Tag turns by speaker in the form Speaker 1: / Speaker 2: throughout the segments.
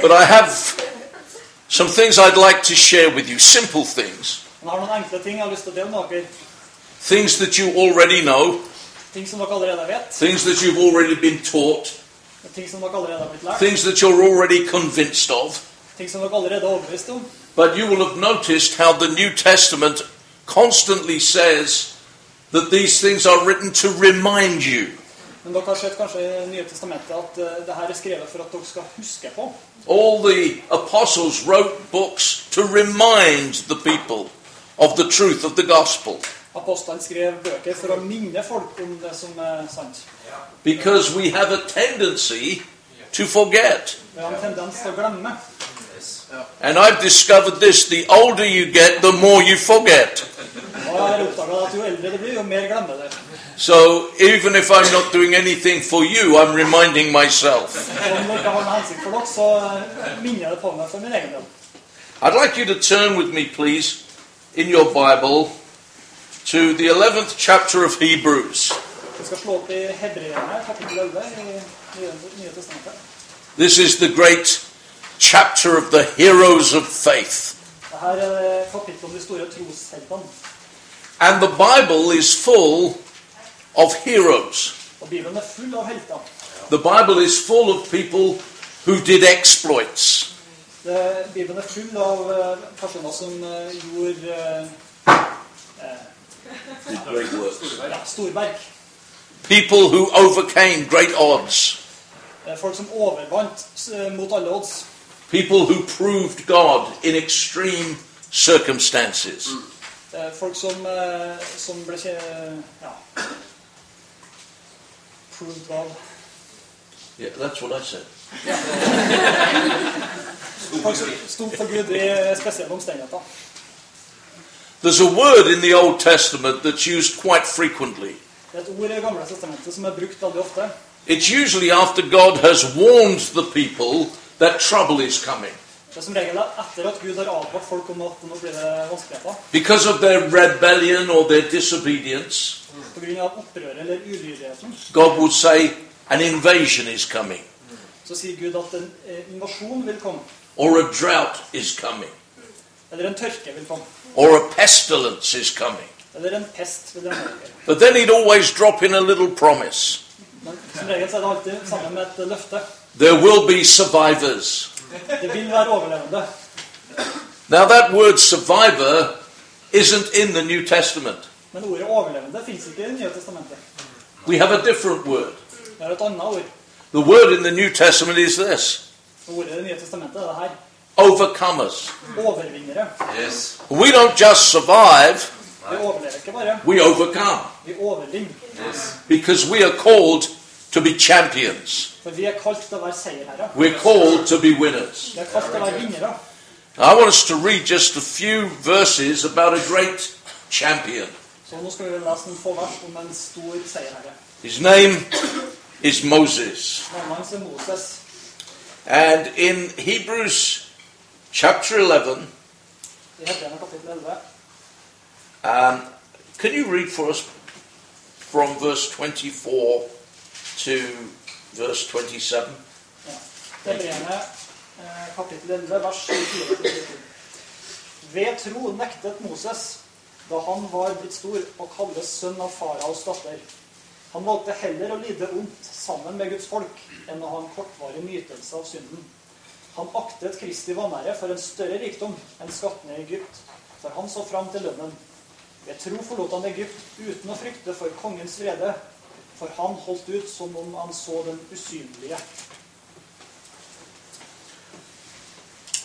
Speaker 1: But I have some things I'd like to share with you, simple things.
Speaker 2: Men jeg har noen enkle ting jeg har lyst til å dele med dere.
Speaker 1: Things that you already know,
Speaker 2: Ting som dere allerede vet.
Speaker 1: things that you've already been taught,
Speaker 2: Ting som dere allerede har blitt lært.
Speaker 1: things that you're already convinced of.
Speaker 2: Ting som dere allerede er overbevist om.
Speaker 1: But you will have noticed how the New Testament constantly says that these things are written to remind you,
Speaker 2: Men dere har sett kanskje i Nye Testamentet at uh, det her er skrevet for at dere skal huske på.
Speaker 1: All the apostles wrote books to remind the people of the truth of the gospel
Speaker 2: Apostlene skrev bøker for å minne folk om det som er sant.
Speaker 1: because we have a tendency to forget.
Speaker 2: Vi har en tendens til å glemme.
Speaker 1: And I've discovered this the older you get, the more you forget.
Speaker 2: Og jeg har oppdaga at jo eldre det blir, jo mer glemmer det.
Speaker 1: So even if I'm not doing anything for you, I'm reminding myself.
Speaker 2: Og når det ikke har noen hensikt for dere, så eh, minner jeg det på meg for min egen del.
Speaker 1: I'd like you to turn with me, please, in your Bible to the 11th chapter of Hebrews.
Speaker 2: Vi skal slå opp i Hebreerne, kapittel 11 i Nye Nye Testamentet.
Speaker 1: This is the great chapter of the heroes of faith.
Speaker 2: Dette er eh, kapittelet om de store trosheltene.
Speaker 1: And the Bible is full of heroes.
Speaker 2: Og Bibelen er full av helter.
Speaker 1: The Bible is full of people who did exploits.
Speaker 2: Det, Bibelen er full av eh, personer som eh, gjorde eh,
Speaker 1: Did great works.
Speaker 2: ja, storverk.
Speaker 1: People who overcame great odds.
Speaker 2: Eh, Folk som overvant eh, mot alle odds.
Speaker 1: People who proved God in extreme circumstances.
Speaker 2: Eh, Folk som, eh, som ble kje... Ja. Proved God.
Speaker 1: Yeah, that's what I said.
Speaker 2: Folk som sto for Gud i eh, spesielle omstendigheter.
Speaker 1: There's a word in the Old Testament that's used quite frequently.
Speaker 2: Det er et ord i Det gamle testamentet som er brukt veldig ofte.
Speaker 1: It's usually after God has warned the people that trouble is coming
Speaker 2: Det er som regel etter at Gud har advart folk om at nå blir det vanskeligheter.
Speaker 1: because of their rebellion or their disobedience.
Speaker 2: På grunn av opprøret eller ulydigheten.
Speaker 1: God would say, an invasion is coming,
Speaker 2: Så sier Gud at en eh, invasjon vil komme.
Speaker 1: or a drought is coming,
Speaker 2: Eller en tørke vil komme.
Speaker 1: or a pestilence is coming.
Speaker 2: Eller en pest vil det være.
Speaker 1: But then he'd always drop in a little promise
Speaker 2: Men som regel så er det alltid sammen med et løfte.
Speaker 1: there will be survivors.
Speaker 2: Det vil være overlevende.
Speaker 1: Now, that word survivor isn't in the New Testament.
Speaker 2: Men ordet 'overlevende' fins ikke i Det nye testamentet.
Speaker 1: We have a different word.
Speaker 2: Det er et annet ord.
Speaker 1: The word in the New Testament is this
Speaker 2: Og ordet i Det nye testamentet er det her.
Speaker 1: overcomers.
Speaker 2: Overvinnere.
Speaker 3: Yes.
Speaker 1: We don't just survive,
Speaker 2: Vi overlever ikke bare.
Speaker 1: we overcome
Speaker 2: Vi overvinner.
Speaker 3: Yes.
Speaker 1: because we are called to be champions,
Speaker 2: For vi er kalt til å være seierherrer.
Speaker 1: we're called to be winners.
Speaker 2: Vi er kalt til å være vinnere.
Speaker 1: I want us to read just a few verses about a great champion.
Speaker 2: Så nå skal vi lese noen få vers om en stor seierherre.
Speaker 1: His name is Moses.
Speaker 2: Navnet hans er Moses.
Speaker 1: And in Hebrews chapter 11,
Speaker 2: I Hebreerne kapittel 11.
Speaker 1: um, can you read for us from verse 24 to verse 27?
Speaker 2: Ja. Hebreerne eh, kapittel 11, vers 24. Ved tro nektet Moses, da han var blitt stor, å kalles sønn av faraos datter. Han valgte heller å lide ondt sammen med Guds folk enn å ha en kortvarig nytelse av synden. Han aktet Kristi vanære for en større rikdom enn skattene i Egypt, for han så fram til lønnen. Ved tro forlot han Egypt uten å frykte for kongens vrede, for han holdt ut som om han så den usynlige.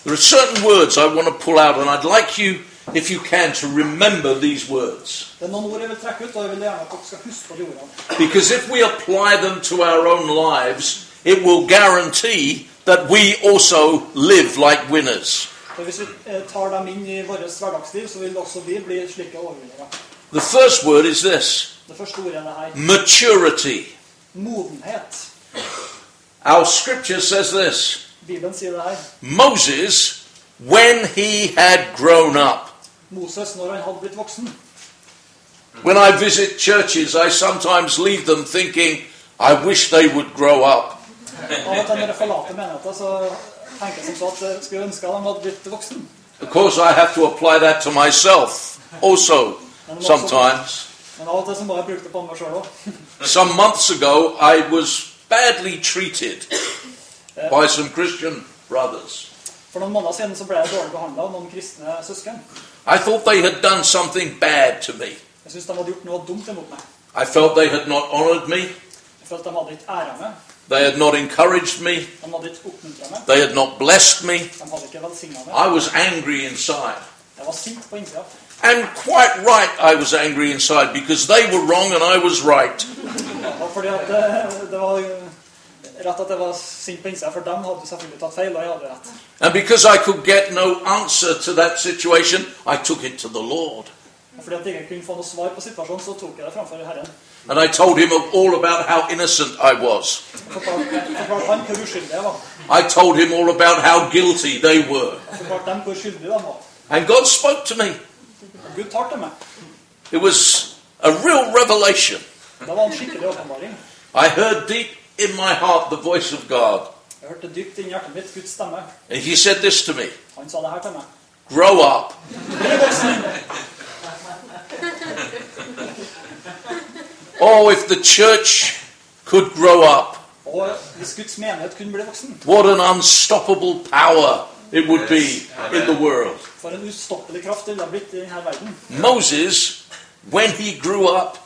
Speaker 1: There are certain words I want to pull out, and I'd like you, if you can, to remember these words.
Speaker 2: Det er noen ord jeg vil trekke ut, og jeg vil gjerne at dere skal huske på de ordene.
Speaker 1: Because if we apply them to our own lives, it will guarantee that we also live like winners.
Speaker 2: For hvis vi eh, tar dem inn i vårt hverdagsliv, så vil også vi bli slike overvinnere.
Speaker 1: The first word is this
Speaker 2: Det første ordet er det her
Speaker 1: maturity.
Speaker 2: modenhet.
Speaker 1: Our scripture says this
Speaker 2: Bibelen sier det her.
Speaker 1: Moses, when he had grown up.
Speaker 2: Moses, når han hadde blitt voksen
Speaker 1: When I visit churches, I sometimes leave them thinking, I wish they would grow up.
Speaker 2: Av og til når jeg forlater menigheten, så tenker som så at jeg skulle ønske at de hadde blitt voksen.
Speaker 1: Of course, I have to apply that to myself also sometimes.
Speaker 2: Men av og til så må jeg bruke det på meg sjøl òg.
Speaker 1: Some months ago, I was badly treated by some Christian brothers.
Speaker 2: For noen måneder siden så ble jeg dårlig behandla av noen kristne søsken.
Speaker 1: I thought they had done something bad to me.
Speaker 2: Jeg syntes de hadde gjort noe dumt imot meg.
Speaker 1: I felt they had not honored me,
Speaker 2: Jeg følte de hadde ikke æra meg.
Speaker 1: they had not encouraged me,
Speaker 2: De hadde ikke oppmuntra meg.
Speaker 1: they had not blessed me.
Speaker 2: De hadde ikke velsigna
Speaker 1: I
Speaker 2: meg.
Speaker 1: was angry inside.
Speaker 2: Jeg var sint på innsida.
Speaker 1: And quite right, I was angry inside because they were wrong and I was right.
Speaker 2: Det var fordi at eh, det, det var rett at jeg var sint på innsida, for de hadde selvfølgelig tatt feil, og jeg hadde rett.
Speaker 1: And because I could get no answer to that situation, I took it to the Lord.
Speaker 2: Og fordi at jeg ikke kunne få noe svar på situasjonen, så tok jeg det framfor Herren.
Speaker 1: And I told him of all about how innocent I was.
Speaker 2: Jeg Fortalte jeg fortalte han hvor uskyldig jeg var.
Speaker 1: I told him all about how guilty they were.
Speaker 2: Jeg fortalte dem hvor skyldig de var.
Speaker 1: And God spoke to me.
Speaker 2: Og Gud tar til meg.
Speaker 1: It was a real revelation.
Speaker 2: Det var en skikkelig åpenbaring.
Speaker 1: I heard deep in my heart the voice of God.
Speaker 2: Jeg hørte dypt inni hjertet mitt Guds stemme.
Speaker 1: And he said this to me
Speaker 2: Han sa det her til meg.
Speaker 1: Grow up. Oh, if the church could grow up,
Speaker 2: Og hvis Guds menighet kunne bli voksen,
Speaker 1: what an unstoppable power it would be in the world.
Speaker 2: for en ustoppelig kraft ville det blitt i denne verden.
Speaker 1: Moses, when he grew up,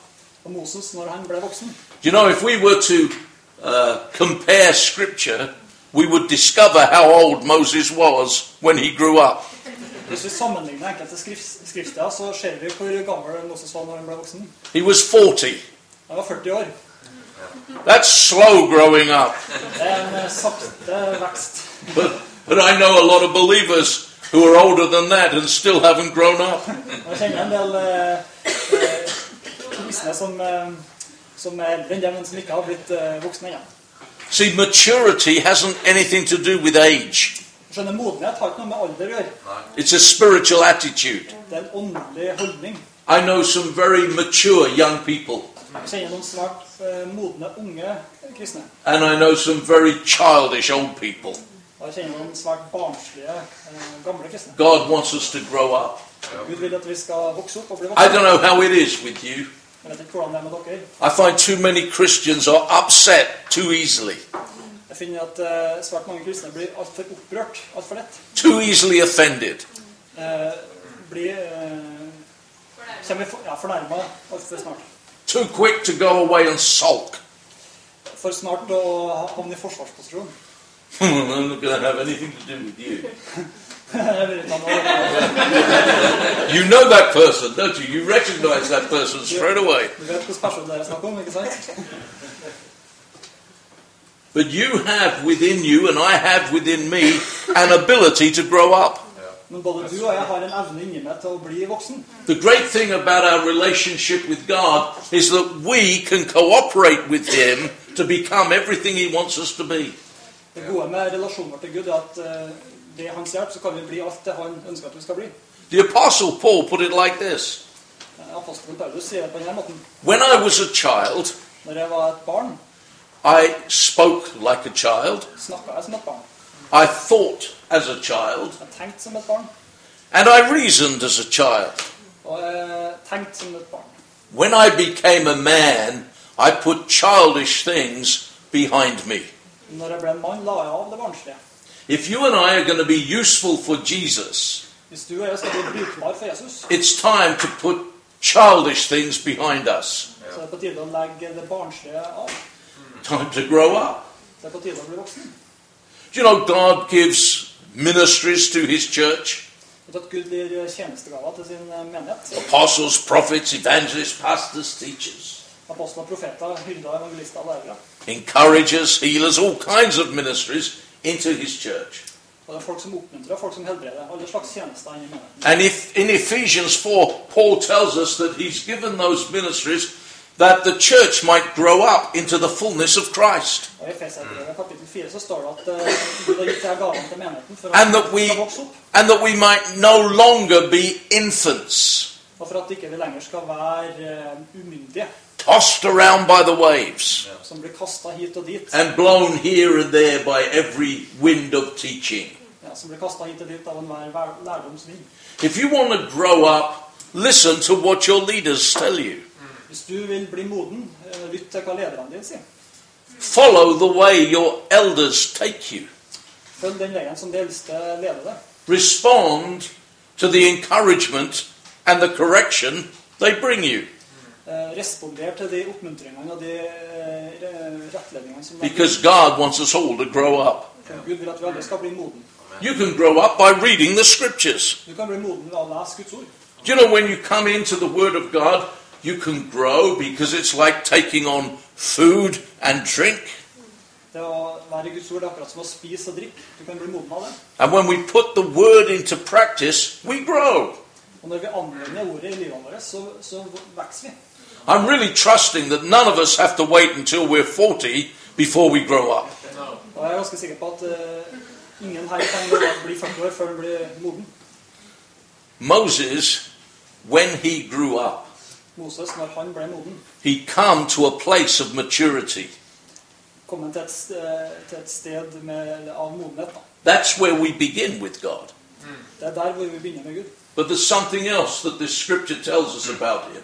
Speaker 2: Og Moses, når han ble voksen
Speaker 1: You know, if we were to uh, compare scripture, we would discover how old Moses was when he grew up.
Speaker 2: Hvis vi sammenligner enkelte skrifts- skrifter, så ser vi hvor gammel Moses var når han ble voksen.
Speaker 1: He was 40.
Speaker 2: Han var 40 år.
Speaker 1: That's slow growing up.
Speaker 2: Det er en eh, sakte vekst.
Speaker 1: But, but I know a lot of believers who are older than that and still haven't grown up.
Speaker 2: Og Jeg kjenner en del eh, eh, kristne som, eh, som er eldre enn det, men som ikke har blitt eh, voksne ennå.
Speaker 1: See, maturity hasn't anything to do with age,
Speaker 2: Jeg Skjønner, Modenhet har ikke noe med alder å gjøre.
Speaker 1: it's a spiritual attitude.
Speaker 2: Det er en åndelig holdning.
Speaker 1: I know some very mature young people,
Speaker 2: Jeg kjenner noen svært eh, modne, unge kristne.
Speaker 1: and I know some very childish old people.
Speaker 2: Og jeg kjenner noen svært barnslige, eh, gamle kristne.
Speaker 1: God wants us to grow up.
Speaker 2: Gud vil at vi skal vokse opp og bli
Speaker 1: I
Speaker 2: voksne.
Speaker 1: don't know how it is with you.
Speaker 2: Jeg vet ikke hvordan det er med dere.
Speaker 1: I find too many Christians are upset too easily,
Speaker 2: Jeg finner at eh, svært mange kristne blir altfor opprørt altfor lett.
Speaker 1: too easily offended.
Speaker 2: Eh, blir eh, Kommer for, ja, fornærma altfor snart.
Speaker 1: Too quick to go away and sulk.
Speaker 2: For snart å havne i forsvarsposisjon.
Speaker 1: I'm not going to have anything to do with you.
Speaker 2: Jeg vil ikke ha noe-
Speaker 1: You know that person, don't you? You recognize that person straight away.
Speaker 2: Du vet hvilken person det er snakk om, ikke sant?
Speaker 1: But you have within you, and I have within me, an ability to grow up.
Speaker 2: Men både du og jeg har en evne inni meg til å bli voksen.
Speaker 1: The great thing about our relationship with God is that we can cooperate with Him to become everything He wants us to be.
Speaker 2: Det gode med relasjonen vår til Gud er at eh, ved hans hjelp så kan vi bli alt det han ønsker at vi skal bli.
Speaker 1: The Apostle Paul put it like this
Speaker 2: Eh, Apostelen Paulus sier det på denne måten.
Speaker 1: When I was a child,
Speaker 2: Når jeg var et barn,
Speaker 1: I spoke like a child,
Speaker 2: snakka jeg som et barn.
Speaker 1: I thought as a child,
Speaker 2: Jeg tenkte som et barn,
Speaker 1: and I reasoned as a child.
Speaker 2: og jeg tenkte som et barn.
Speaker 1: When I became a man, I put childish things behind me.
Speaker 2: Når jeg ble en mann, la jeg av det barnslige.
Speaker 1: If you and I are going to be useful for Jesus,
Speaker 2: Hvis du og jeg skal bli brukbar for Jesus,
Speaker 1: it's time to put childish things behind us.
Speaker 2: så er det på tide å legge det barnslige av.
Speaker 1: Time to grow up.
Speaker 2: Det er på tide å bli voksen.
Speaker 1: Do you know God gives ministries to his church?
Speaker 2: Vet du at Gud gir tjenestegaver til sin eh, menighet?
Speaker 1: Apostles, prophets, evangelists, pastors, teachers.
Speaker 2: Apostler, profeter, hyrder, evangelister og lærere.
Speaker 1: encouragers, healers, all kinds of ministries into his church.
Speaker 2: Og det er folk som oppmuntrer, folk som helbreder. Alle slags tjenester inni menigheten.
Speaker 1: And if in Ephesians 4, Paul tells us that he's given those ministries that the church might grow up into the fullness of Christ
Speaker 2: Og I Efeserbrevet kapittel 4 så står det at eh, Gud har gitt disse gavene til menigheten for
Speaker 1: And
Speaker 2: at
Speaker 1: that
Speaker 2: den
Speaker 1: we-
Speaker 2: skal vokse opp.
Speaker 1: and that we might no longer be infants.
Speaker 2: Og for at ikke vi lenger skal være eh, umyndige.
Speaker 1: tossed around by the waves,
Speaker 2: som blir kasta hit og dit.
Speaker 1: and blown here and there by every wind of teaching.
Speaker 2: Ja, som blir kastet hit og dit av enhver vær- lærdomsvind.
Speaker 1: If you want to grow up, listen to what your leaders tell you.
Speaker 2: Hvis du vil bli moden, eh, lytt til hva lederne dine sier.
Speaker 1: Follow the way your elders take you.
Speaker 2: Følg den veien som de eldste leder deg.
Speaker 1: Respond to the encouragement and the correction they bring you.
Speaker 2: Eh, Responder til de oppmuntringene og de eh, re- rettledningene som de
Speaker 1: Because God wants us all to grow up.
Speaker 2: For Gud vil at vi alle skal bli moden.
Speaker 1: You can grow up by reading the scriptures.
Speaker 2: Du kan bli moden ved å lese Guds ord.
Speaker 1: You know, when you come into the Word of God, you can grow because it's like taking on food and drink.
Speaker 2: Det å være i Guds ord er akkurat som å spise og drikke. Du kan bli moden av det.
Speaker 1: And when we put the Word into practice, we grow.
Speaker 2: Og når vi anvender ordet i livet vårt, så, så vokser vi.
Speaker 1: I'm really trusting that none of us have to wait until we're 40 before we grow up.
Speaker 2: Og jeg er ganske sikker på at eh, ingen her kan bli 40 år før han blir moden.
Speaker 1: Moses, when he grew up,
Speaker 2: Moses, når han ble moden,
Speaker 1: he come to a place of maturity.
Speaker 2: kom han til et, st- eh, til et sted med, av modenhet. Da.
Speaker 1: That's where we begin with God.
Speaker 2: Det er der hvor vi begynner med Gud.
Speaker 1: But there's something else that this scripture tells us about him.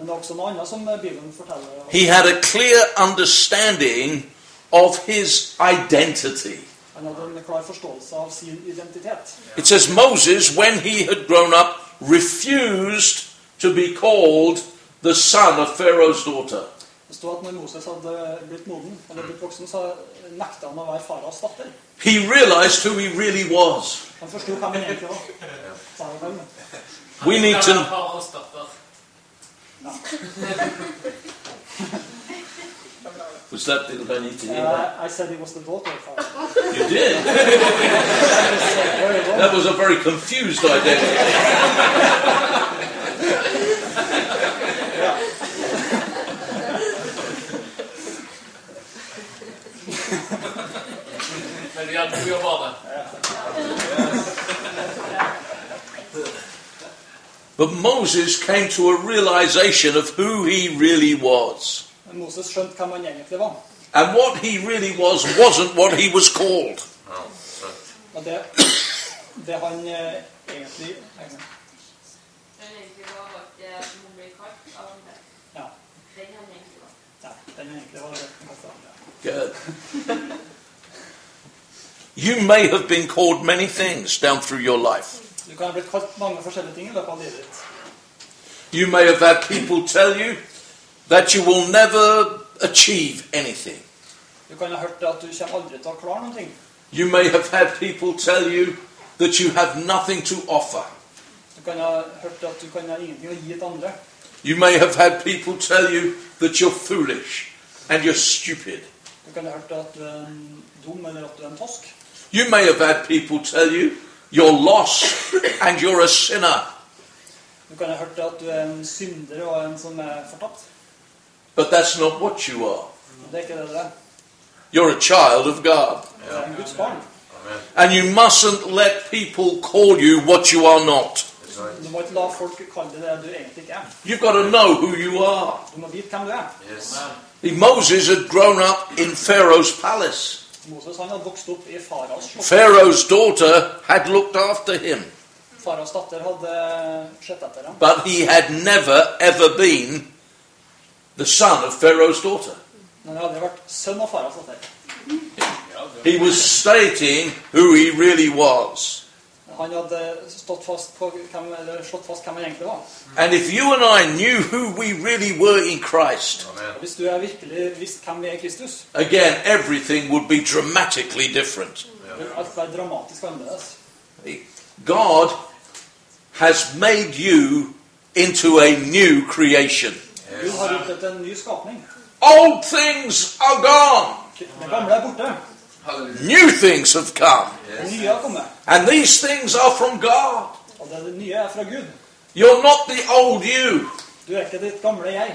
Speaker 2: Men det er også noe annet som eh, Bibelen forteller.
Speaker 1: He had a clear understanding of his identity.
Speaker 2: Han hadde en klar forståelse av sin identitet.
Speaker 1: It says Moses, when he had grown up, refused to be called the son of Pharaoh's daughter.
Speaker 2: Det stod at når Moses hadde blitt moden, eller blitt voksen, så nekta han å være faraos datter.
Speaker 1: He realized who he really was.
Speaker 2: Han forsto hvem han egentlig var. Sa han vel.
Speaker 1: We need to Was that the I need to hear that?
Speaker 2: Eh, I said he was the daughter of Pharaoh.
Speaker 1: You did.
Speaker 2: Very well.
Speaker 1: That was a very confused identity.
Speaker 3: Men vi hade tur att vara där.
Speaker 1: But Moses came to a realization of who he really was.
Speaker 2: Men Moses skjønte hvem han egentlig var.
Speaker 1: And what he really was wasn't what he was called.
Speaker 2: Og det, det han eh, egentlig
Speaker 4: Den egentlig var ikke hun ble kalt av andre.
Speaker 2: Ja.
Speaker 4: Den han egentlig var.
Speaker 2: ja den egentlig var det.
Speaker 1: Good. You may have been called many things down through your life.
Speaker 2: Du kan ha blitt kalt mange forskjellige ting i løpet av livet ditt.
Speaker 1: You may have had people tell you that you will never achieve anything.
Speaker 2: Du kan ha hørt at du kommer aldri til å klare noen ting.
Speaker 1: You may have had people tell you that you have nothing to offer.
Speaker 2: Du kan ha hørt at du kan ha ingenting å gi til andre.
Speaker 1: You may have had people tell you that you're foolish and you're stupid.
Speaker 2: Du kan ha hørt at du er en dum, eller at du er en tosk.
Speaker 1: You may have had people tell you you're lost and you're a sinner.
Speaker 2: Du kan ha hørt at du er en synder og en som er fortapt.
Speaker 1: But that's not what you are.
Speaker 2: Men det er ikke det det er.
Speaker 1: You're a child of God.
Speaker 2: Du er en Guds barn.
Speaker 1: And you mustn't let people call you what you are not.
Speaker 2: Du må ikke la folk kalle deg det du egentlig ikke er.
Speaker 1: You've got to know who you are.
Speaker 2: Du må vite hvem du er.
Speaker 1: Moses had grown up in Pharaoh's palace.
Speaker 2: Moses han hadde vokst opp i faraos slott.
Speaker 1: Pharaoh's daughter had looked after him,
Speaker 2: Faraos datter hadde sett etter ham.
Speaker 1: but he had never, ever been the son of Pharaoh's daughter.
Speaker 2: Men han hadde aldri vært sønn av faraos datter.
Speaker 1: He was stating who he really was.
Speaker 2: Han hadde stått fast på hvem, eller slått fast hvem han egentlig var.
Speaker 1: And if you and I knew who we really were in Christ,
Speaker 2: Og hvis du er virkelig visst hvem vi er i Kristus,
Speaker 1: again, everything would be dramatically different.
Speaker 2: vil alt være dramatisk annerledes.
Speaker 1: God has made you into a new creation.
Speaker 2: Gud har gjort deg til en ny skapning.
Speaker 1: Old things are gone,
Speaker 2: Det gamle er borte.
Speaker 1: new things have come.
Speaker 2: Det nye har kommet.
Speaker 1: And these things are from God.
Speaker 2: Og det nye er fra Gud.
Speaker 1: You're not the old you.
Speaker 2: Du er ikke ditt gamle jeg.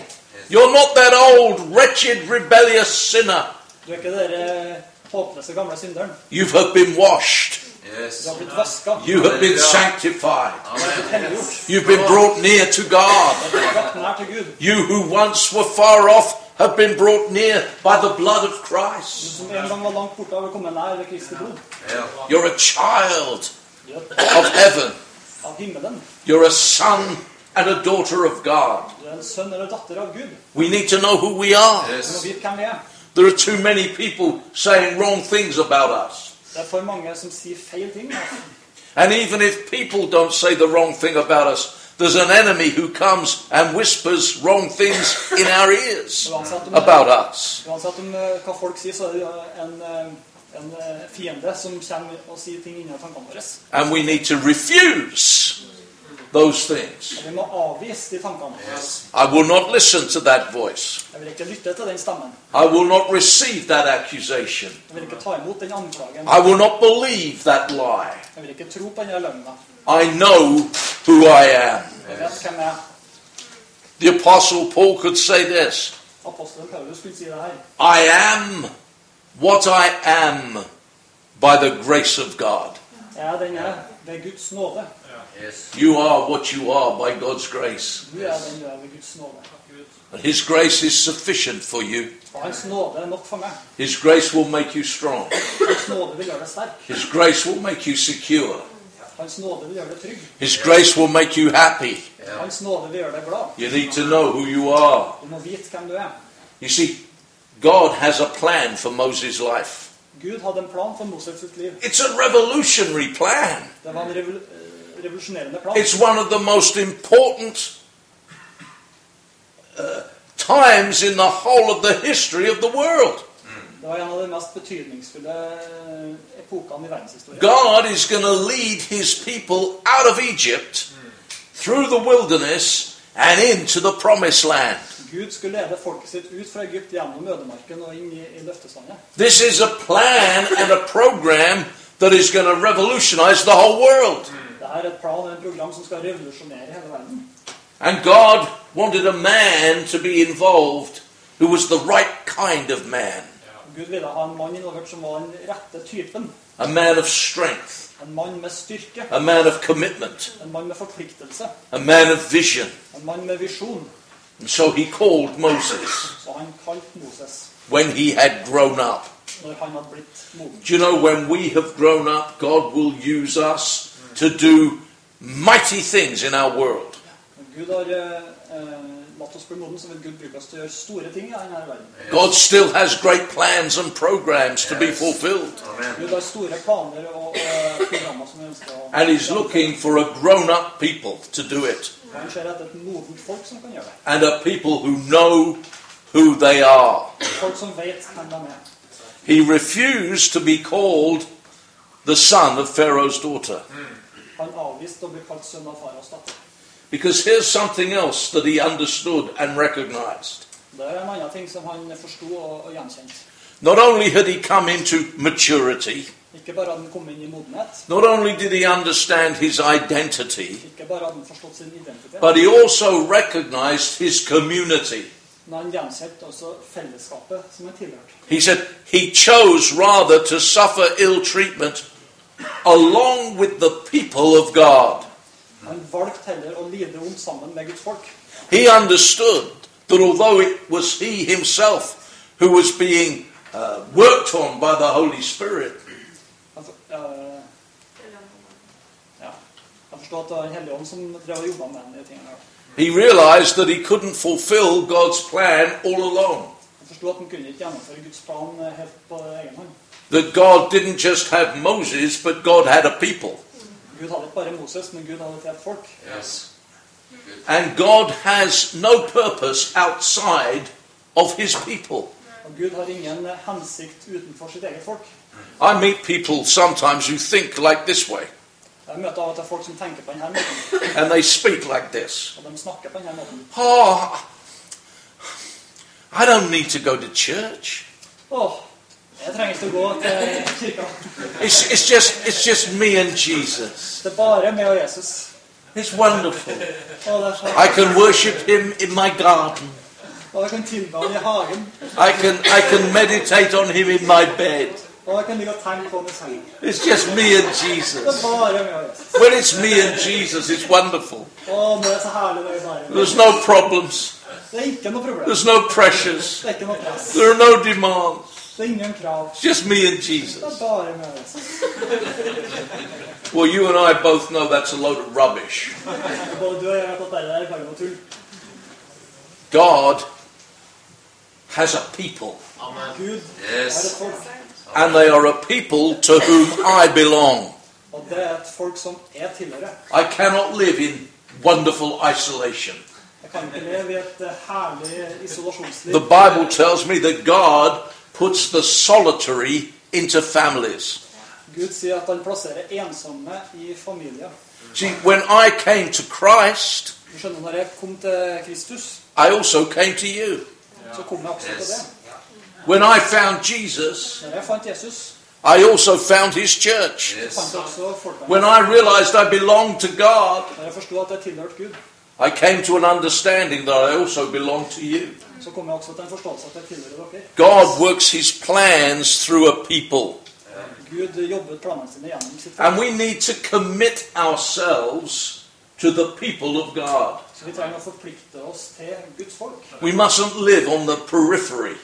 Speaker 1: You're not that old, wretched, rebellious sinner.
Speaker 2: Du er ikke dere håpløse gamle synderen.
Speaker 1: You have been washed.
Speaker 2: Du har
Speaker 5: Yes.
Speaker 2: blitt vaska.
Speaker 1: You have been
Speaker 5: Hallelujah.
Speaker 1: sanctified.
Speaker 5: Amen.
Speaker 2: Helliggjort.
Speaker 1: You've been brought near to God.
Speaker 2: Du har blitt brakt nær til Gud.
Speaker 1: You who once were far off have been brought near by the blood of
Speaker 2: Du
Speaker 1: Christ.
Speaker 2: som en gang var langt borte, har kommet nær ved Kristi blod.
Speaker 5: Ja.
Speaker 1: You're a child
Speaker 2: Du er et
Speaker 1: of heaven.
Speaker 2: barn av himmelen.
Speaker 1: You're a son and a daughter of God.
Speaker 2: Du er en sønn eller datter av Gud.
Speaker 1: We need to know who we are.
Speaker 2: Du må
Speaker 5: Yes.
Speaker 2: vite hvem vi er.
Speaker 1: There are too many people saying wrong things about us.
Speaker 2: Det er for mange som sier feil ting. altså.
Speaker 1: And even if people don't say the wrong thing about us, there's an enemy who comes and whispers wrong things in our ears
Speaker 2: Uansett om,
Speaker 1: about us.
Speaker 2: uansett om eh, hva folk sier, så er det eh, en, eh, en eh, fiende som kommer og sier ting inni tankene våre.
Speaker 1: And we need to refuse those things.
Speaker 2: Og vi må avvise de tankene.
Speaker 5: Yes.
Speaker 1: I will not listen to that voice.
Speaker 2: Jeg vil ikke lytte til den stemmen.
Speaker 1: I will not receive that accusation.
Speaker 2: Jeg vil ikke ta imot den anklagen.
Speaker 1: I will not believe that lie.
Speaker 2: Jeg vil ikke tro på den løgna.
Speaker 1: I know who I am.
Speaker 2: Jeg vet hvem jeg er.
Speaker 1: The Apostle Paul could say this
Speaker 2: Apostelen Paulus skulle si det her.
Speaker 1: I am what I am by the grace of God.
Speaker 2: Jeg er den jeg er ved Guds nåde.
Speaker 5: Yes.
Speaker 1: You are what you are by God's grace.
Speaker 2: Du er den du er ved Guds nåde.
Speaker 1: And His grace is sufficient for you.
Speaker 2: Og Hans nåde er nok for meg.
Speaker 1: His grace will make you strong.
Speaker 2: Hans nåde vil gjøre deg sterk.
Speaker 1: His grace will make you secure.
Speaker 2: Hans nåde vil gjøre deg trygg.
Speaker 1: His grace will make you happy.
Speaker 5: Ja.
Speaker 2: Hans nåde vil gjøre deg glad.
Speaker 1: You need to know who you are.
Speaker 2: Du må vite hvem du er.
Speaker 1: You see, God has a plan for Moses' life.
Speaker 2: Gud hadde en plan for Moses sitt liv.
Speaker 1: It's a revolutionary plan.
Speaker 2: Det var en revol eh, revolusjonerende plan.
Speaker 1: It's one of the most important uh, times in the whole of the history of the world.
Speaker 2: Det var en av de mest betydningsfulle eh, epokene i verdenshistorien.
Speaker 1: God is going to lead his people out of Egypt, through the wilderness, and into the promised land.
Speaker 2: Gud skulle lede folket sitt ut fra Egypt gjennom ødemarken og inn i, i løfteslandet.
Speaker 1: This is a plan and a program that is going to revolutionize the whole world.
Speaker 2: Dette er et plan og et program som skal revolusjonere hele verden.
Speaker 1: And God wanted a man to be involved who was the right kind of man,
Speaker 2: Gud ville ha en mann involvert som var den rette typen.
Speaker 1: a man of strength,
Speaker 2: En mann med styrke.
Speaker 1: a man of commitment,
Speaker 2: En mann med forpliktelse.
Speaker 1: a man of vision.
Speaker 2: En mann med visjon.
Speaker 1: And so he called Moses
Speaker 2: Så han kalte Moses
Speaker 1: when he had grown up.
Speaker 2: når han hadde blitt moden.
Speaker 1: Do you know when we have grown up, God will use us to do mighty things in our world.
Speaker 2: Når Gud har eh, eh, latt oss bli moden, så vil Gud bruke oss til å gjøre store ting i denne verden.
Speaker 1: God still has great plans and programs to be
Speaker 5: Yes.
Speaker 1: fulfilled.
Speaker 5: Amen.
Speaker 2: Gud har store planer og, og programmer som vi ønsker å
Speaker 1: And He's looking for a grown up people to do it.
Speaker 2: Han ser etter et modent folk som kan gjøre det.
Speaker 1: and a people who know who they are.
Speaker 2: Folk som vet hvem de er.
Speaker 1: He refused to be called the son of Pharaoh's daughter.
Speaker 2: Han avviste å bli kalt sønn av faraos datter.
Speaker 1: Because here's something else that he understood and recognized.
Speaker 2: Det er en annen ting som han forsto og, og gjenkjente.
Speaker 1: Not only had he come into maturity,
Speaker 2: Ikke bare hadde han kommet inn i modenhet,
Speaker 1: not only did he understand his identity,
Speaker 2: ikke bare hadde han forstått sin identitet,
Speaker 1: but he also recognized his community.
Speaker 2: men han gjenkjente også fellesskapet som han tilhørte.
Speaker 1: He said he chose rather to suffer ill treatment along with the people of God.
Speaker 2: Han valgte heller å lide ondt sammen med Guds folk.
Speaker 1: He understood that although it was he himself who was being uh, worked on by the Holy Spirit,
Speaker 2: Han, for- eh,
Speaker 4: Eller noe.
Speaker 2: ja. han forstod at det var Den hellige ånd som drev og jobba med de tingene. her.
Speaker 1: he realized that he couldn't fulfill God's plan all alone.
Speaker 2: Han forsto at han kunne ikke gjennomføre Guds plan eh, helt på egen hånd.
Speaker 1: That God didn't just have Moses, but God had a people.
Speaker 2: Gud hadde ikke bare Moses, men Gud hadde et helt folk.
Speaker 5: Yes.
Speaker 1: And God has no purpose outside of his people.
Speaker 2: Og Gud har ingen eh, hensikt utenfor sitt eget folk.
Speaker 1: I meet people sometimes who think like this way,
Speaker 2: Jeg møter av og til folk som tenker på denne måten,
Speaker 1: and they speak like this.
Speaker 2: og de snakker på denne måten.
Speaker 1: Oh, I don't need to go to church.
Speaker 2: Åh, jeg trenger ikke å gå til kirka.
Speaker 1: It's, it's just it's just me and Jesus.
Speaker 2: Det er bare meg og Jesus.
Speaker 1: It's wonderful.
Speaker 2: Åh, det er så...
Speaker 1: I can worship Him in my garden.
Speaker 2: Og jeg kan tilbe ham i hagen.
Speaker 1: I can I can meditate on Him in my bed.
Speaker 2: Og jeg kan ligge og tenke på mens jeg ligger.
Speaker 1: It's just me and
Speaker 2: Det er
Speaker 1: Jesus.
Speaker 2: bare meg og Jesus.
Speaker 1: When it's me and Jesus, it's wonderful.
Speaker 2: Å, men det er så herlig det er bare.
Speaker 1: There's no problems.
Speaker 2: Det er ikke noe problem.
Speaker 1: There's no pressures.
Speaker 2: Det er ikke noe press.
Speaker 1: There are no demands.
Speaker 2: Det er ingen krav.
Speaker 1: It's just me and
Speaker 2: Det er
Speaker 1: Jesus.
Speaker 2: bare meg og Jesus.
Speaker 1: Well, you and I both know that's a load of rubbish.
Speaker 2: Og Både du og jeg vet at dette er bare noe tull.
Speaker 1: God has a people,
Speaker 3: Amen.
Speaker 2: Gud er
Speaker 5: Yes.
Speaker 2: et folk.
Speaker 1: and they are a people to whom I belong.
Speaker 2: Og det er et folk som jeg tilhører.
Speaker 1: I cannot live in wonderful isolation.
Speaker 2: Jeg kan ikke leve i et eh, herlig
Speaker 1: The
Speaker 2: isolasjonsliv.
Speaker 1: Bible tells me that God puts the solitary into families.
Speaker 2: Gud sier at han plasserer ensomme i familier.
Speaker 1: See, when I came to Christ,
Speaker 2: Du skjønner, når jeg kom til Kristus,
Speaker 1: I also came to you.
Speaker 2: så kom jeg også til det.
Speaker 5: Yes.
Speaker 1: When I found Jesus,
Speaker 2: Når jeg fant Jesus,
Speaker 1: I also found his church.
Speaker 5: Yes.
Speaker 2: fant jeg også folkene.
Speaker 1: When I realized I belonged to God,
Speaker 2: Når jeg forsto at jeg tilhørte Gud,
Speaker 1: I came to an understanding that I also belong to you.
Speaker 2: så kom jeg også til en forståelse at jeg tilhører dere.
Speaker 1: God works his plans through a people,
Speaker 2: Gud jobbet planene sine gjennom sitt folk.
Speaker 1: and we need to commit ourselves to the people of God.
Speaker 2: Så vi trenger å forplikte oss til Guds folk.
Speaker 1: We mustn't live on the periphery.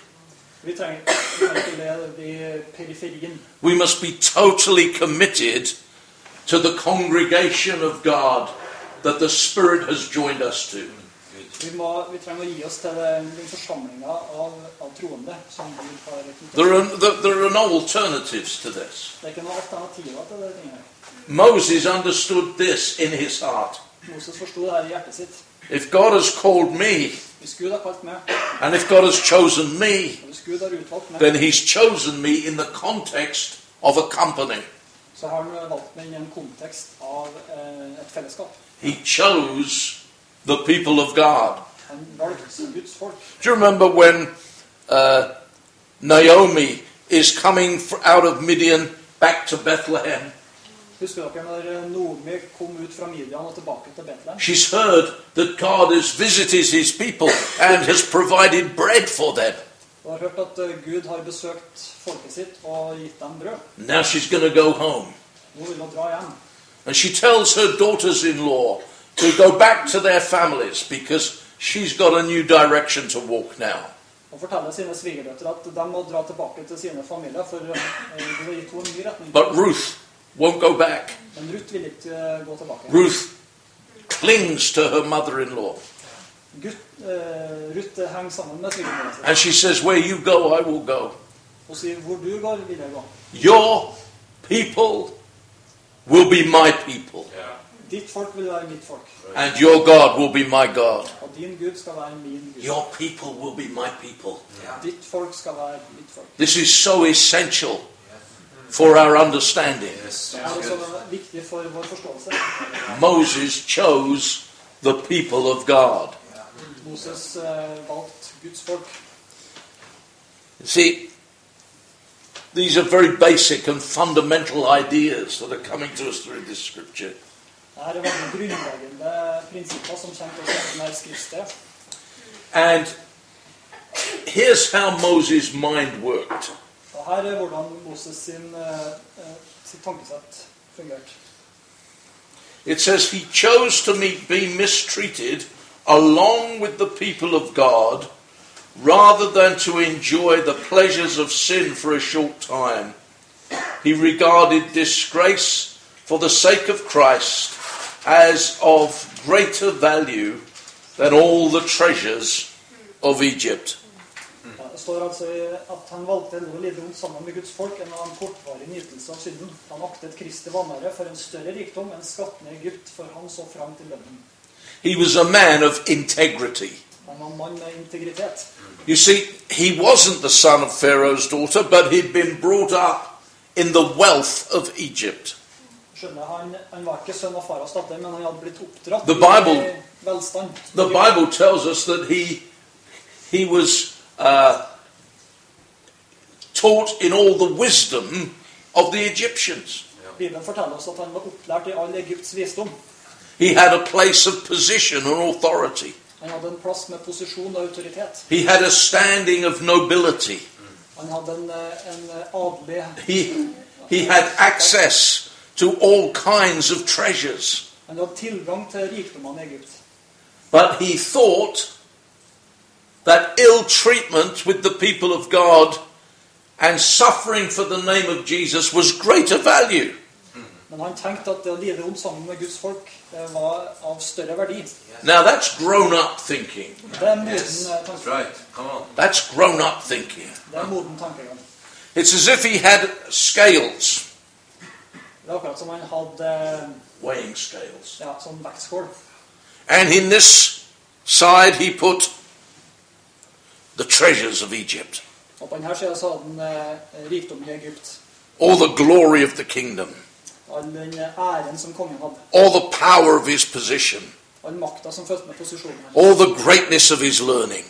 Speaker 2: Vi trenger, vi trenger ikke leve i periferien.
Speaker 1: We must be totally committed to the congregation of God that the Spirit has joined us to.
Speaker 2: Vi, må, vi trenger å gi oss til den, den forsamlinga av, av troende som Gud har knyttet
Speaker 1: There are, there- there are no alternatives to this.
Speaker 2: Det er ikke noen alternativer til det tingene.
Speaker 1: Moses understood this in his heart.
Speaker 2: Moses forsto det her i hjertet sitt.
Speaker 1: If God has called me,
Speaker 2: Hvis Gud har kalt meg,
Speaker 1: and if God has chosen me,
Speaker 2: og hvis Gud har utvalgt meg,
Speaker 1: then He's chosen me in the context of a company.
Speaker 2: så har han valgt meg i en kontekst av eh, et fellesskap.
Speaker 1: He chose the people of God.
Speaker 2: Han valgte Guds folk.
Speaker 1: Do you remember when uh, Naomi is coming fr- out of Midian back to Bethlehem?
Speaker 2: Husker dere når Noomi kom ut fra Midian og tilbake til Betlehem?
Speaker 1: She's heard that God has visited his people and has provided bread for them.
Speaker 2: Og har hørt at eh, Gud har besøkt folket sitt og gitt dem brød.
Speaker 1: Now she's going to go home.
Speaker 2: Nå vil hun dra hjem.
Speaker 1: And she tells her daughters in law to go back to their families because she's got a new direction to walk now.
Speaker 2: Og forteller sine svigerdøtre at de må dra tilbake til sine familier, for eh, Gud har gitt henne en ny retning.
Speaker 1: But Ruth won't go back.
Speaker 2: Men Ruth vil ikke eh, gå tilbake.
Speaker 1: Ruth clings to her mother in law
Speaker 2: Gutt, eh, Ruth eh, henger sammen med svigerdøtra sine.
Speaker 1: and she says, Where you go, I will go.
Speaker 2: og sier 'hvor du går, vil jeg gå'.
Speaker 1: Your people will be my people,
Speaker 2: Ditt folk vil være mitt folk,
Speaker 1: and your God will be my God.
Speaker 2: og din Gud skal være min Gud.
Speaker 1: Your people will be my people.
Speaker 2: Ditt folk skal være mitt folk.
Speaker 1: This is so essential for our understanding.
Speaker 5: Yes.
Speaker 2: Det er også viktig for vår forståelse.
Speaker 1: Moses chose the people of God.
Speaker 2: Moses eh, valgte Guds folk.
Speaker 1: See, these are very basic and fundamental ideas that are coming to us through this scripture.
Speaker 2: Dette er veldig grunnleggende prinsipper som kommer til å sette ned skriftet.
Speaker 1: And here's how Moses' mind worked.
Speaker 2: Og her er hvordan Moses sin, eh, eh, sitt tankesett fungerte.
Speaker 1: It says he chose to meet, be mistreated along with the people of God rather than to enjoy the pleasures of sin for a short time. He regarded disgrace for the sake of Christ as of greater value than all the treasures of Egypt. Mm.
Speaker 2: Ja, Det står altså i at han valgte å lide vondt sammen med Guds folk enn å ha en kortvarig nytelse av synden. Han aktet Kristi vanære for en større rikdom enn skattene i Egypt, for han så fram til lønnen.
Speaker 1: He was a man of integrity.
Speaker 2: Han var en mann med integritet.
Speaker 1: You see, he wasn't the son of Pharaoh's daughter, but he'd been brought up in the wealth of Egypt.
Speaker 2: Skjønner, han, han var ikke sønn av faras datter, men han hadde blitt oppdratt
Speaker 1: The Bible-
Speaker 2: i velstand.
Speaker 1: The Bible tells us that he he was uh, taught in all the wisdom of the Egyptians.
Speaker 2: Bibelen forteller oss at han var opplært i all Egypts visdom.
Speaker 1: He had a place of position and authority.
Speaker 2: Han hadde en plass med posisjon og autoritet.
Speaker 1: He had a standing of nobility.
Speaker 2: Han hadde en, eh, en eh, adelig
Speaker 1: He, he had access to all kinds of treasures,
Speaker 2: Han hadde tilgang til rikdommene i Egypt.
Speaker 1: but he thought that ill treatment with the people of God and suffering for the name of Jesus was greater value.
Speaker 2: Men han tenkte at det å lide om sammen med Guds folk eh, var av større verdi.
Speaker 1: Now that's grown up thinking.
Speaker 2: Det er en moden,
Speaker 5: Yes,
Speaker 3: uh,
Speaker 2: eh,
Speaker 5: that's
Speaker 2: tanke.
Speaker 5: right. Come on.
Speaker 1: That's grown up thinking.
Speaker 2: det er en moden tankegang.
Speaker 1: It's as if he had scales,
Speaker 2: Det er akkurat som han hadde eh,
Speaker 1: weighing scales.
Speaker 2: ja, sånn vektskål.
Speaker 1: And in this side he put the treasures of Egypt,
Speaker 2: Og på denne sida så hadde han eh, rikdom i Egypt.
Speaker 1: all the glory of the kingdom,
Speaker 2: All den eh, æren som kongen hadde.
Speaker 1: all the power of his position,
Speaker 2: All makta som fulgte med posisjonen hans.
Speaker 1: all the greatness of his learning.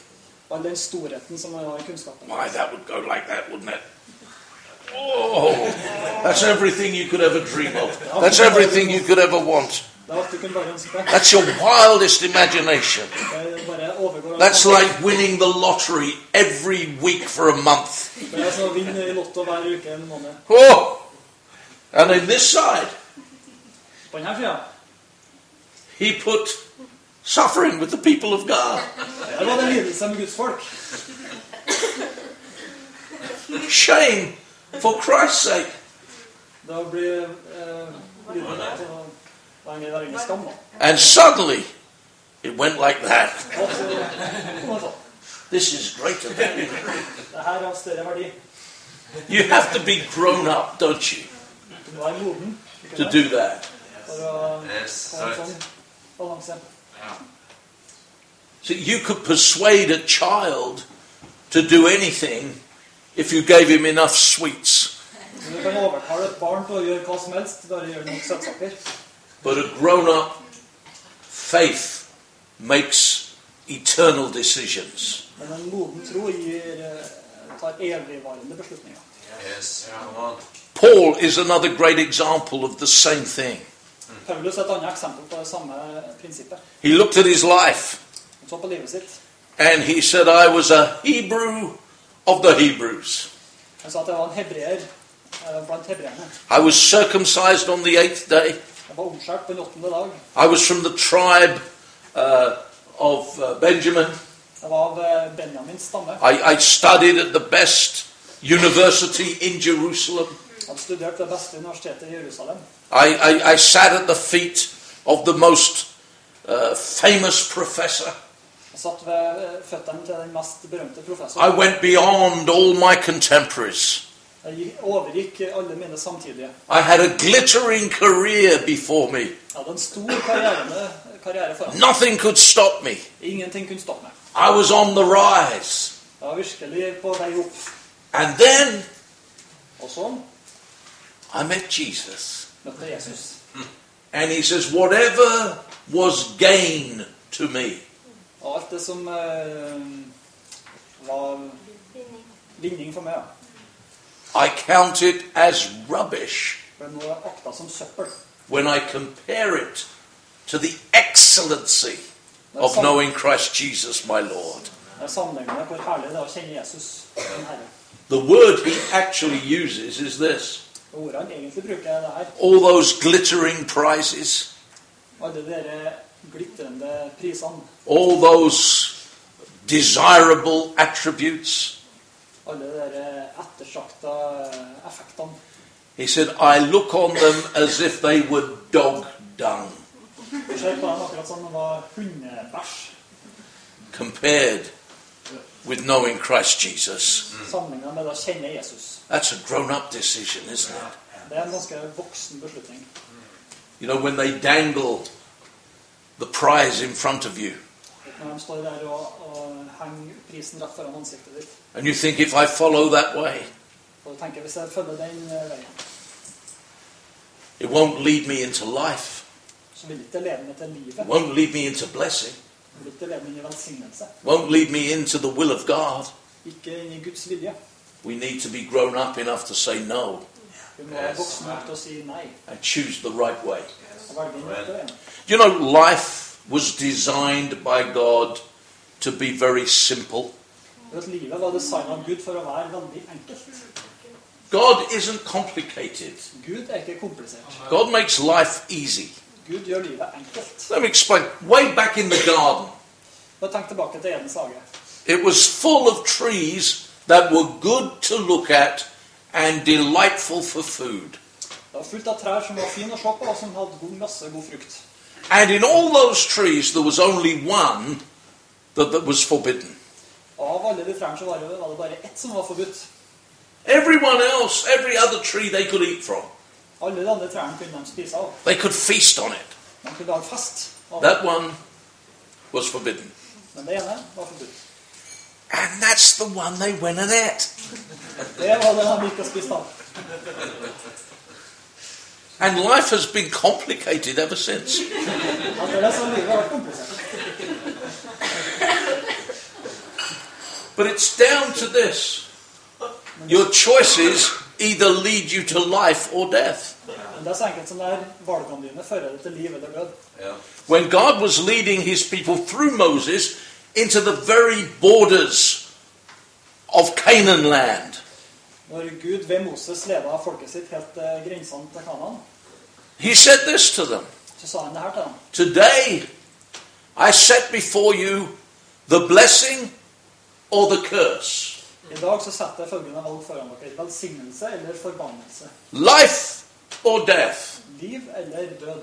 Speaker 2: All den storheten som han har i kunnskapen.
Speaker 1: My, that would go like that, wouldn't it? Oh, that's everything you could ever dream of. That's everything you could ever want.
Speaker 2: Det er alt du kunne bare ønske deg.
Speaker 1: That's your wildest imagination.
Speaker 2: Det bare overgår alt.
Speaker 1: That's like winning the lottery every week for a month.
Speaker 2: Det er som å vinne i Lotto hver uke en måned.
Speaker 1: Oh! And in this side,
Speaker 2: På denne sida
Speaker 1: he put suffering with the people of God.
Speaker 2: der var det lidelse med Guds folk.
Speaker 1: Shame for Christ's sake.
Speaker 2: Da blir eh, lidelse til å- Det er ingen- det er ingen skam, da.
Speaker 1: And suddenly, it went like that.
Speaker 2: Og så kommer det sånn.
Speaker 1: This is greater than
Speaker 2: Det her har større verdi.
Speaker 1: you have to be grown up, don't you,
Speaker 2: Du må være moden
Speaker 1: to do that.
Speaker 2: for å
Speaker 5: Yes,
Speaker 2: ha en
Speaker 5: right.
Speaker 2: sånn balanse.
Speaker 1: So you could persuade a child to do anything if you gave him enough sweets,
Speaker 2: Men Du kan overtale et barn til å gjøre hva som helst, bare gjør noen søtsaker.
Speaker 1: but a grown up faith makes eternal decisions.
Speaker 2: Men en moden tro gir, eh, tar evigvarende beslutninger.
Speaker 5: Yes, come on.
Speaker 1: Paul is another great example of the same thing.
Speaker 2: Paulus er et annet eksempel på det samme prinsippet.
Speaker 1: He looked at his life
Speaker 2: Han så på livet sitt.
Speaker 1: and he said, I was a Hebrew of the Hebrews.
Speaker 2: Han sa at jeg var en hebreer eh, blant hebreerne.
Speaker 1: I was circumcised on the eighth day.
Speaker 2: Jeg var omskjært på den åttende dag.
Speaker 1: I was from the tribe uh, of uh, Benjamin.
Speaker 2: Jeg var av eh, Benjamins stamme.
Speaker 1: I, I studied at the best university in Jerusalem.
Speaker 2: Han studerte det beste universitetet i Jerusalem.
Speaker 1: I, I, I sat at the feet of the most uh, famous professor.
Speaker 2: Han satt ved eh, føttene til den mest berømte
Speaker 1: I
Speaker 2: professoren.
Speaker 1: went beyond all my contemporaries.
Speaker 2: Jeg gikk- overgikk alle mine samtidige.
Speaker 1: I had a glittering career before me.
Speaker 2: Jeg hadde en stor karriere, med- karriere foran meg.
Speaker 1: Nothing could stop me.
Speaker 2: Ingenting kunne stoppe meg.
Speaker 1: I was on the rise.
Speaker 2: Jeg var virkelig på vei opp.
Speaker 1: And then
Speaker 2: Og så
Speaker 1: I met Jesus.
Speaker 2: møtte jeg Jesus.
Speaker 1: And he says, Whatever was gain to me,
Speaker 2: Og alt det som eh, var vinning for meg, ja.
Speaker 1: I count it as rubbish.
Speaker 2: ble nå akta som søppel.
Speaker 1: when I compare it to the excellency of
Speaker 2: Sam-
Speaker 1: knowing Christ Jesus my Lord.
Speaker 2: Jeg sammenligner med hvor herlig det er å kjenne Jesus som Herre.
Speaker 1: The word he actually uses is this
Speaker 2: Og ordet han egentlig bruker, er det her.
Speaker 1: all those glittering prizes,
Speaker 2: Alle dere glitrende prisene.
Speaker 1: all those desirable attributes.
Speaker 2: Alle dere ettersjakta eh, effektene.
Speaker 1: He said, I look on them as if they were dog dung
Speaker 2: Du ser på dem akkurat som det var hundebæsj
Speaker 1: compared with knowing Christ Jesus.
Speaker 2: sammenlignet med det å kjenne Jesus.
Speaker 1: That's a grown up decision, isn't it?
Speaker 2: Det er en ganske voksen beslutning.
Speaker 1: You know, when they dangle the prize in front of you,
Speaker 2: Når de står der og, og henger prisen rett foran ansiktet ditt.
Speaker 1: And you think, if I follow that way,
Speaker 2: Og du tenker, hvis jeg følger den eh, veien,
Speaker 1: it won't lead me into life,
Speaker 2: så vil ikke det lede meg til
Speaker 1: it
Speaker 2: livet.
Speaker 1: won't lead me into blessing,
Speaker 2: Det vil ikke lede meg inn i velsignelse.
Speaker 1: won't lead me into the will of God.
Speaker 2: Ikke inn i Guds vilje.
Speaker 1: We need to be grown up enough to say no
Speaker 2: Vi må være voksne nok til å si nei.
Speaker 1: and choose the right way.
Speaker 2: Og velge den rette veien.
Speaker 1: You know, life was designed by God to be very simple.
Speaker 2: Det at livet var designet av Gud for å være veldig enkelt.
Speaker 1: God isn't complicated.
Speaker 2: Gud er ikke komplisert.
Speaker 1: God makes life easy.
Speaker 2: Gud gjør livet enkelt.
Speaker 1: Let me explain. Way back in the garden,
Speaker 2: Da tenk tilbake til Edens hage.
Speaker 1: it was full of trees that were good to look at and delightful for food.
Speaker 2: Det var fullt av trær som var fine å se på, og som hadde god, masse god frukt.
Speaker 1: And in all those trees, there was only one that, that was forbidden.
Speaker 2: Av alle de trærne som var det, var det bare ett som var forbudt.
Speaker 1: Everyone else, every other tree they could eat from,
Speaker 2: Alle de andre trærne kunne de spise av.
Speaker 1: they could feast on it.
Speaker 2: De kunne lage fest av.
Speaker 1: That one was forbidden.
Speaker 2: Men det ene var forbudt.
Speaker 1: And that's the one they went and ate.
Speaker 2: Det var det de ikke spiste av.
Speaker 1: And life has been complicated ever since.
Speaker 2: Etter det så har livet vært komplisert.
Speaker 1: But it's down to this your choices either lead you to life or death.
Speaker 2: Men det er så enkelt som det er. Valgene dine fører deg til liv eller død.
Speaker 1: When God was leading his people through Moses into the very borders of Canaan land,
Speaker 2: Når Gud ved Moses leda folket sitt helt til grensene til Kanaan,
Speaker 1: he said this to them
Speaker 2: så sa han det her til dem.
Speaker 1: Today I set before you the blessing or the curse.
Speaker 2: I dag så setter jeg følgende valg foran dere. Velsignelse eller forbannelse.
Speaker 1: life or death?
Speaker 2: Liv eller død.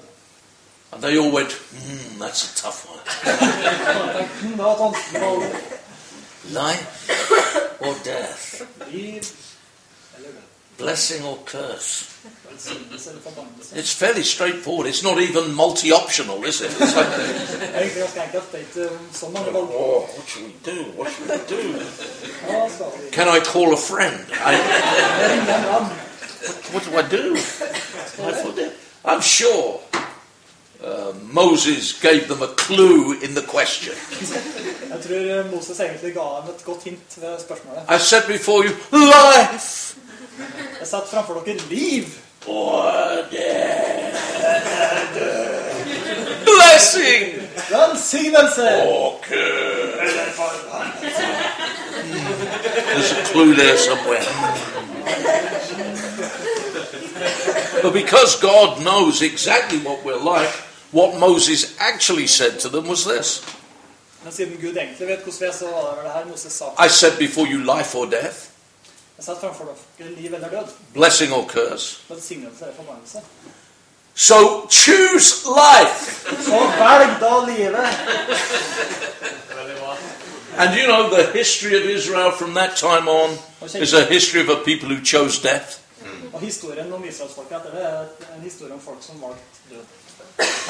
Speaker 1: And they all went, hmm, that's a tough one.
Speaker 2: Og jeg tenkte, hm, det var et vanskelig valg.
Speaker 1: Life or death?
Speaker 2: Liv eller død.
Speaker 1: Blessing or curse?
Speaker 2: Velsignelse eller forbannelse.
Speaker 1: It's fairly straightforward. It's not even multi optional, is it? It's like,
Speaker 2: Det er egentlig ganske enkelt. Det er ikke um, så mange valg.
Speaker 1: oh, what should we do? What should we do?
Speaker 2: Ja, skal vi.
Speaker 1: Can I call a friend? I,
Speaker 2: Jeg ringer en venn.
Speaker 1: what do I do? Life or death? I'm sure uh, Moses gave them a clue in the question.
Speaker 2: Jeg tror eh, Moses egentlig ga dem et godt hint ved spørsmålet.
Speaker 1: I said before you, life
Speaker 2: Jeg setter framfor dere liv
Speaker 1: or death. Blessing
Speaker 2: Velsignelse!
Speaker 1: or curse. There's a clue there somewhere. but because God knows exactly what we're like, what Moses actually said to them was this
Speaker 2: Men siden Gud egentlig vet hvordan vi er, så var det vel det her Moses sa.
Speaker 1: I said before you life or death,
Speaker 2: Jeg setter framfor dere liv eller død.
Speaker 1: blessing or curse.
Speaker 2: Velsignelse eller forbannelse.
Speaker 1: So choose life.
Speaker 2: Så velg da livet!
Speaker 3: Veldig bra.
Speaker 1: And you know, the history of Israel from that time on is a history of a people who chose death.
Speaker 2: Og historien om israelsfolket etter det er en historie om folk som valgte død.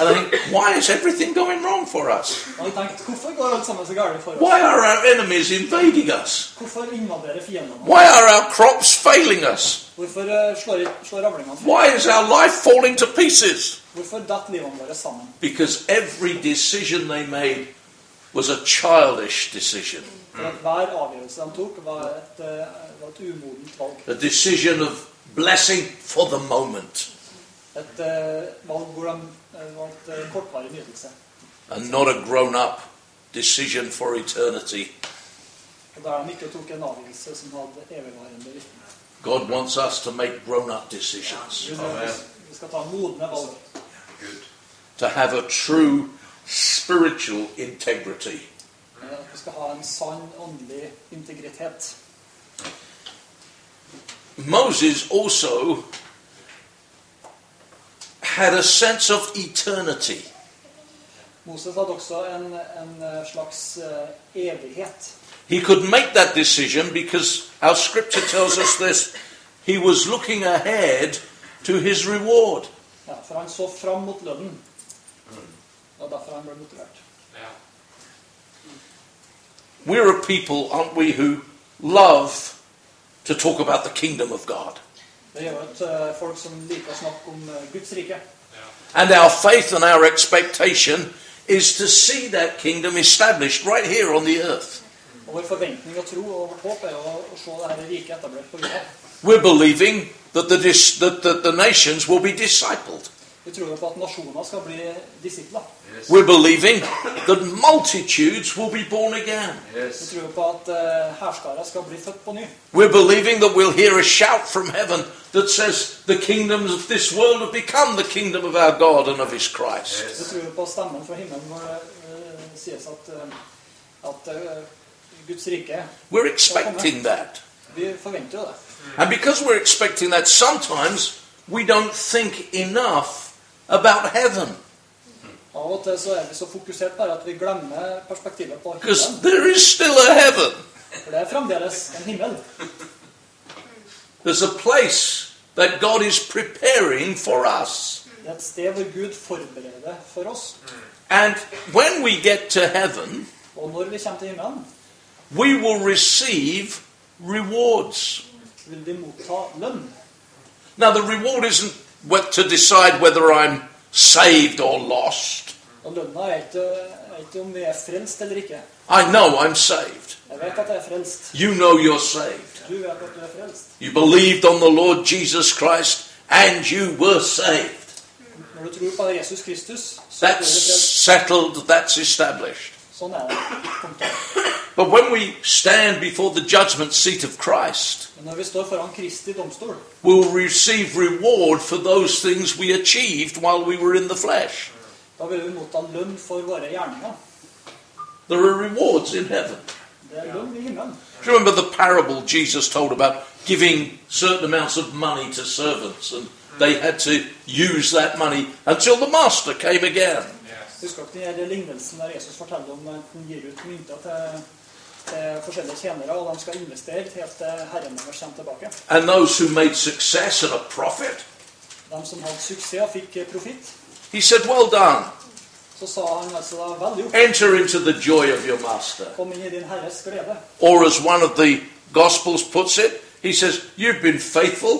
Speaker 1: And I think, why is everything going wrong for us?
Speaker 2: Og jeg tenkte, hvorfor går alt sammen så galt for oss?
Speaker 1: Why are our enemies invading us?
Speaker 2: Hvorfor invaderer fiendene oss?
Speaker 1: Why are our crops failing us?
Speaker 2: Hvorfor eh, slår, slår avlingene fra?
Speaker 1: Why is our life falling to pieces?
Speaker 2: Hvorfor detter livene våre sammen?
Speaker 1: Because every decision they made was a childish decision,
Speaker 2: For at hver avgjørelse de tok, var et, eh, var et umodent valg.
Speaker 1: a decision of blessing for the moment
Speaker 2: Et eh, valg hvor de eh, valgte kortvarig nytelse.
Speaker 1: and not a grown up decision for eternity.
Speaker 2: Og der de ikke tok en avgjørelse som hadde evigvarende virkning.
Speaker 1: God wants us to make grown up decisions,
Speaker 2: Gud, Vi skal ta modne valg.
Speaker 1: to have a true spiritual integrity.
Speaker 2: Eh, At vi skal ha en sann åndelig integritet.
Speaker 1: Moses also had a sense of eternity.
Speaker 2: Moses hadde også en, en eh, slags eh, evighet.
Speaker 1: He could make that decision because our scripture tells us this he was looking ahead to his reward.
Speaker 2: Ja, for han så fram mot lønnen. Det var derfor han ble motivert.
Speaker 3: Ja.
Speaker 1: We're a people, aren't we, who love to talk about the kingdom of God.
Speaker 2: Det er jo et eh, folk som liker å snakke om eh, Guds rike.
Speaker 3: Ja.
Speaker 1: And our faith and our expectation is to see that kingdom established right here on the earth.
Speaker 2: Og Vår forventning og tro og vårt håp er jo å, å se det her riket etablert på jorda.
Speaker 1: We're believing that the, dis- that, that the nations will be discipled.
Speaker 2: Vi Vi tror jo på at nasjoner skal bli disipler.
Speaker 3: Yes.
Speaker 1: We're believing that multitudes will be born again.
Speaker 2: Vi
Speaker 3: Yes.
Speaker 2: tror jo på at eh, hærskarer skal bli født på ny.
Speaker 1: We're believing that we'll hear a shout from heaven that says, The kingdoms of this world have become the kingdom of our God and of his Christ.
Speaker 2: Vi
Speaker 3: Yes.
Speaker 2: tror jo på stemmen fra himmelen når det eh, sies at, eh, at eh, Guds rike
Speaker 1: We're expecting that.
Speaker 2: Vi forventer jo det.
Speaker 1: And because we're expecting that, sometimes we don't think enough about heaven
Speaker 2: Av og til så er vi så fokusert bare at vi glemmer perspektivet på himmelen.
Speaker 1: because there is still a heaven.
Speaker 2: For det er fremdeles en himmel.
Speaker 1: There's a place that God is preparing for us.
Speaker 2: Det er et sted hvor Gud forbereder for oss.
Speaker 1: And when we get to heaven,
Speaker 2: Og når vi kommer til himmelen,
Speaker 1: we will receive rewards.
Speaker 2: vil vi motta lønn.
Speaker 1: Now, the reward isn't what to decide whether I'm saved or lost.
Speaker 2: Og lønna er ikke, er ikke om vi er frelst eller ikke.
Speaker 1: I know I'm saved.
Speaker 2: Jeg vet at jeg er frelst.
Speaker 1: You know you're saved.
Speaker 2: Du vet at du er frelst.
Speaker 1: You believed on the Lord Jesus Christ and you were saved.
Speaker 2: Når du tror på Jesus Kristus, så blir du
Speaker 1: That's
Speaker 2: frelst.
Speaker 1: settled, that's established.
Speaker 2: Sånn er det. Punktum.
Speaker 1: But when we stand before the judgment seat of Christ,
Speaker 2: Men når vi står foran Kristi domstol,
Speaker 1: we'll receive reward for those things we achieved while we were in the flesh.
Speaker 2: da vil vi motta lønn for våre gjerninger.
Speaker 1: There are rewards in heaven.
Speaker 2: Det er lønn i himmelen.
Speaker 1: Do you remember the parable Jesus told about giving certain amounts of money to servants and they had to use that money until the master came again?
Speaker 3: Yes.
Speaker 2: Husker dere den her lignelsen der Jesus forteller om at han gir ut mynter til, til forskjellige tjenere, og de skal investere helt til herren deres kommer tilbake?
Speaker 1: And those who made success and a profit,
Speaker 2: De som hadde suksess, fikk profitt.
Speaker 1: he said, Well done,
Speaker 2: Så sa han altså da vel gjort,
Speaker 1: enter into the joy of your master.
Speaker 2: kom inn i din herres glede.
Speaker 1: Or as one of the Gospels puts it, he says, You've been faithful,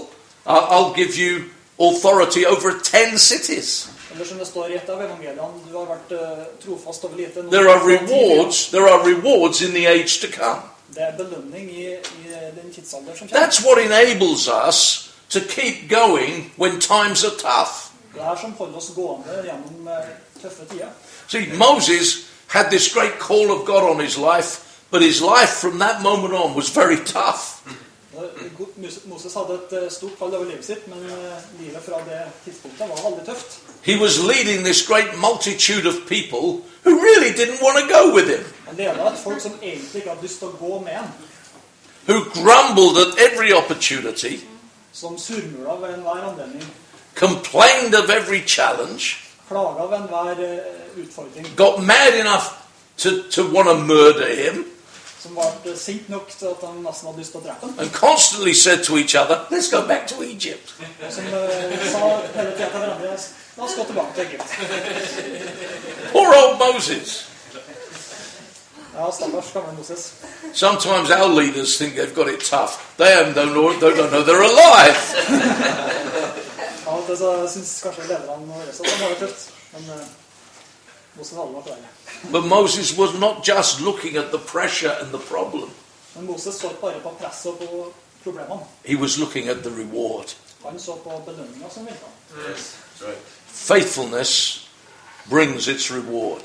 Speaker 1: I- I'll give you authority over 10 cities.
Speaker 2: Eller som det står i et av evangeliene, du har vært eh, trofast over lite. nå
Speaker 1: There are
Speaker 2: skal du få tidligere.
Speaker 1: rewards, there are rewards in the age to come.
Speaker 2: Det er belønning i, i den tidsalder som kommer.
Speaker 1: That's what enables us to keep going when times are tough.
Speaker 2: Det er som holder oss gående gjennom eh, tøffe tider.
Speaker 1: See, Moses had this great call of God on his life, but his life from that moment on was very tough.
Speaker 2: Og Go- Mus- Moses hadde et eh, stort kall over livet sitt, men eh, livet fra det tidspunktet var veldig tøft.
Speaker 1: He was leading this great multitude of people who really didn't want to go with him,
Speaker 2: Han leda et folk som egentlig ikke hadde lyst til å gå med ham,
Speaker 1: who grumbled at every opportunity,
Speaker 2: som surmula ved enhver anledning,
Speaker 1: complained of every challenge,
Speaker 2: klaga ved enhver eh, utfordring,
Speaker 1: got mad enough to, to want to murder him,
Speaker 2: som ble sint nok til at han nesten hadde lyst til å drepe ham.
Speaker 1: and constantly said to each other, Let's go back to Egypt.
Speaker 2: Og som eh, sa hele tida til hverandre La oss gå tilbake til Egypt.
Speaker 1: Poor old Moses.
Speaker 2: Ja, stakkars gamle Moses.
Speaker 1: Sometimes our leaders think they've got it tough. They haven't- don't know, they don't know they're alive.
Speaker 2: Ja, det så syns kanskje lederne våre også at det var litt tøft. Men eh, Moses hadde vært verre.
Speaker 1: But Moses was not just looking at the pressure and the problem,
Speaker 2: Men Moses så ikke bare på presset og på problemene.
Speaker 1: he was looking at the reward.
Speaker 2: Han så på belønninga som virka.
Speaker 3: Yes. Right.
Speaker 1: Faithfulness brings its reward.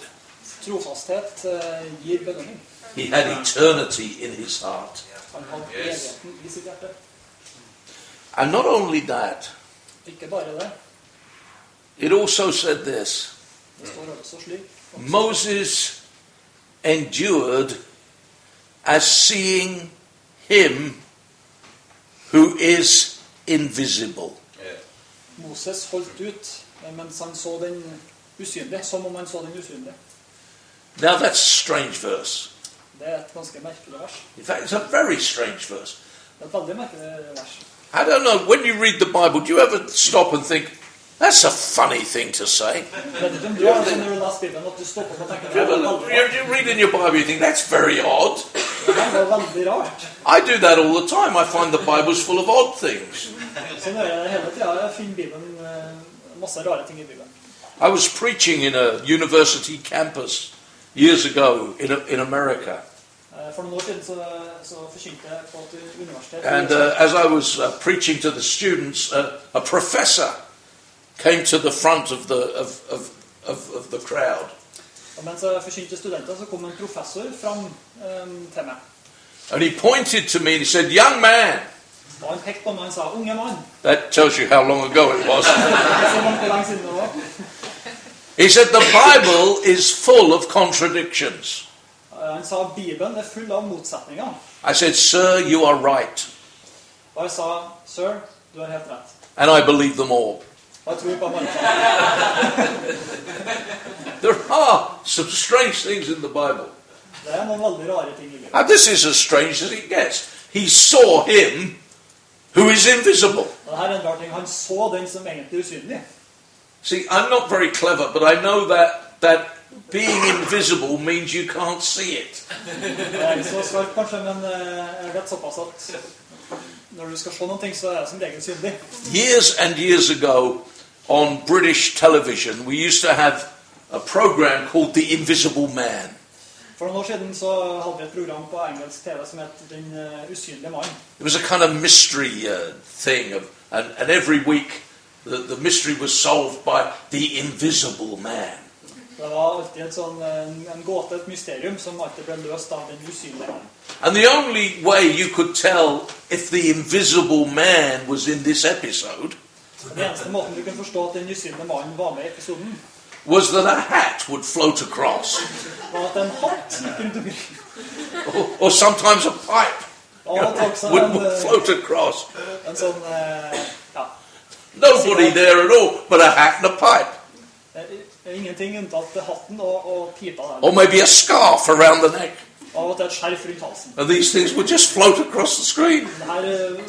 Speaker 2: Trofasthet eh, gir belønning.
Speaker 1: He had eternity in his heart.
Speaker 2: Han hadde
Speaker 3: Yes.
Speaker 2: evigheten i sitt hjerte.
Speaker 1: And not only that,
Speaker 2: Ikke bare det.
Speaker 1: it also said this
Speaker 2: Det står også slik.
Speaker 1: Moses endured as seeing him who is invisible.
Speaker 3: Yeah.
Speaker 2: Moses holdt ut eh, mens han så den usynlige, som om han så den usynlige.
Speaker 1: Now that's a strange verse.
Speaker 2: Det er et ganske merkelig vers.
Speaker 1: In fact, it's a very strange verse.
Speaker 2: Det er et veldig merkelig vers.
Speaker 1: I don't know, when you read the Bible, do you ever stop and think, that's a funny thing to say?
Speaker 2: Vet ikke om du har det sånn når du leser Bibelen at du stopper opp og tenker
Speaker 1: Do you, ever, you, you read in your Bible, you think, that's very odd.
Speaker 2: Det her var veldig rart.
Speaker 1: I do that all the time. I find the Bible's full of odd things.
Speaker 2: Sånn er det hele tida. Jeg finner Bibelen, eh, masse rare ting i Bibelen.
Speaker 1: I was preaching in a university campus years ago in, in America.
Speaker 2: Eh, For noen år siden så, så forkynte jeg på et universitet.
Speaker 1: And uh, as I was uh, preaching to the students, uh, a uh, professor came to the front of the, of, of, of, of the crowd.
Speaker 2: Og mens jeg forkynte studenter, så kom en professor fram eh, til meg.
Speaker 1: And he pointed to me and he said, Young man.
Speaker 2: Og han pekte på meg og sa 'unge mann'.
Speaker 1: That tells you how long ago it was.
Speaker 2: Det er så langt hvor lenge siden det var.
Speaker 1: He said, The Bible is full of contradictions.
Speaker 2: Eh, Han sa Bibelen er full av motsetninger.
Speaker 1: I said, Sir, you are right.
Speaker 2: Og jeg sa 'sir, du har helt rett'.
Speaker 1: And I believe them all.
Speaker 2: Og jeg tror på alle.
Speaker 1: There are some strange things in the Bible.
Speaker 2: Det er noen veldig rare ting i livet.
Speaker 1: And this is as strange as it gets. He saw him who is invisible.
Speaker 2: Og det her er en rar ting. Han så den som egentlig er usynlig.
Speaker 1: See, I'm not very clever, but I know that, that being invisible means you can't see it.
Speaker 2: Jeg er ikke så skarp kanskje, men eh, jeg vet såpass at når du skal se noen ting, så er det som regel synlig.
Speaker 1: Years and years ago on British television, we used to have a program called The Invisible Man.
Speaker 2: For noen år siden så hadde vi et program på engelsk TV som het Den eh, usynlige mannen.
Speaker 1: It was a kind of mystery uh, thing, of, and, and every week the, the mystery was solved by The Invisible Man.
Speaker 2: Det var alltid et sånn, eh, en, en gåte, et mysterium, som alltid ble løst av Den usynlige mannen.
Speaker 1: And the only way you could tell if The Invisible Man was in this episode
Speaker 2: Og Den eneste måten du kunne forstå at Den usynlige mannen var med i episoden,
Speaker 1: was that a hat would float across.
Speaker 2: var at en hatt gikk rundt omkring.
Speaker 1: or, or sometimes a pipe
Speaker 2: Og han tok seg
Speaker 1: would,
Speaker 2: en,
Speaker 1: would float across.
Speaker 2: eh, en sånn eh, Ja.
Speaker 1: Nobody there at all, but a hat and a pipe,
Speaker 2: eh, Ingenting unntatt hatten og, og pipa der.
Speaker 1: or maybe a scarf around the neck.
Speaker 2: Og av og til et skjerf rundt halsen.
Speaker 1: And these things would just float across the screen.
Speaker 2: Det her eh,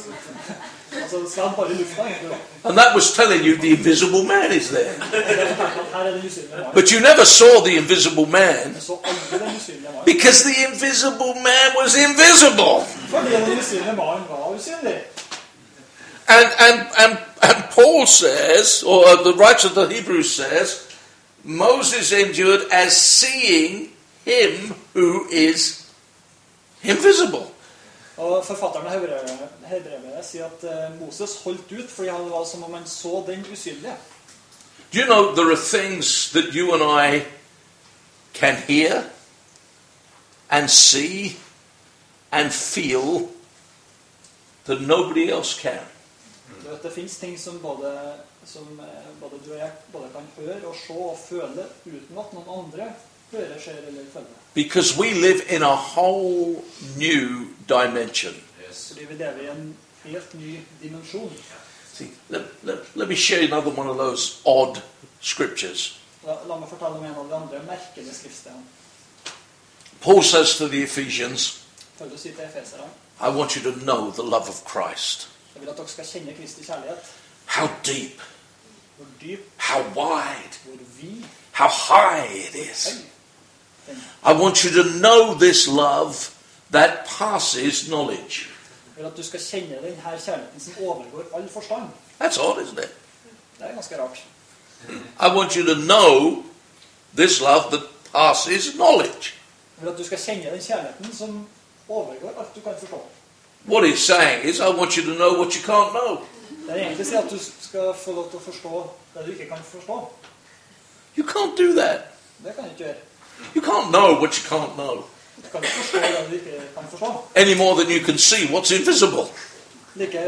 Speaker 2: altså, det skal bare i lufta, egentlig. da.
Speaker 1: And that was telling you the invisible man is there.
Speaker 2: Det er klart at Her er den usynlige mannen.
Speaker 1: But you never saw the invisible man
Speaker 2: Men så aldri den usynlige mannen.
Speaker 1: because the invisible man was invisible.
Speaker 2: Fordi den usynlige mannen var usynlig.
Speaker 1: And, and, and, and Paul says, or uh, the writer of the Hebrews says, Moses endured as seeing him who is invisible.
Speaker 2: Og forfatteren av Hebrevet- hebrevet sier at eh, Moses holdt ut fordi han var som om han så den usynlige.
Speaker 1: Do you know there are things that you and I can hear and see and feel that nobody else can?
Speaker 2: Du vet, det fins ting som, både, som eh, både du og jeg både kan høre og se og føle uten at noen andre hører, ser eller føler.
Speaker 1: Because we live in a whole new dimension.
Speaker 3: Yes.
Speaker 2: Fordi vi lever i en helt ny dimensjon.
Speaker 1: See, let, let, let me share another one of those odd scriptures.
Speaker 2: La, la meg fortelle om en av de andre merkelige skriftstedene.
Speaker 1: Paul says to the Ephesians,
Speaker 2: Paulus sier til efeserne
Speaker 1: I want you to know the love of Christ.
Speaker 2: Jeg vil at dere skal kjenne Kristi kjærlighet.
Speaker 1: How deep,
Speaker 2: Hvor dyp,
Speaker 1: how wide,
Speaker 2: hvor vid,
Speaker 1: how high it
Speaker 2: hvor
Speaker 1: is.
Speaker 2: høy. den er.
Speaker 1: I want you to know this love that passes knowledge.
Speaker 2: Jeg vil at du skal kjenne den her kjærligheten som overgår all forstand.
Speaker 1: That's odd, isn't it?
Speaker 2: Det er ganske rart.
Speaker 1: I want you to know this love that passes knowledge.
Speaker 2: Jeg vil at du skal kjenne den kjærligheten som overgår alt du kan forstå.
Speaker 1: What he's saying is, I want you to know what you can't know.
Speaker 2: Det er egentlig sier at du skal få lov til å forstå det du ikke kan forstå.
Speaker 1: You can't do that.
Speaker 2: Det kan du ikke gjøre.
Speaker 1: You can't know what you can't know
Speaker 2: Du kan ikke forstå det du ikke kan forstå.
Speaker 1: any more than you can see what's invisible.
Speaker 2: Like,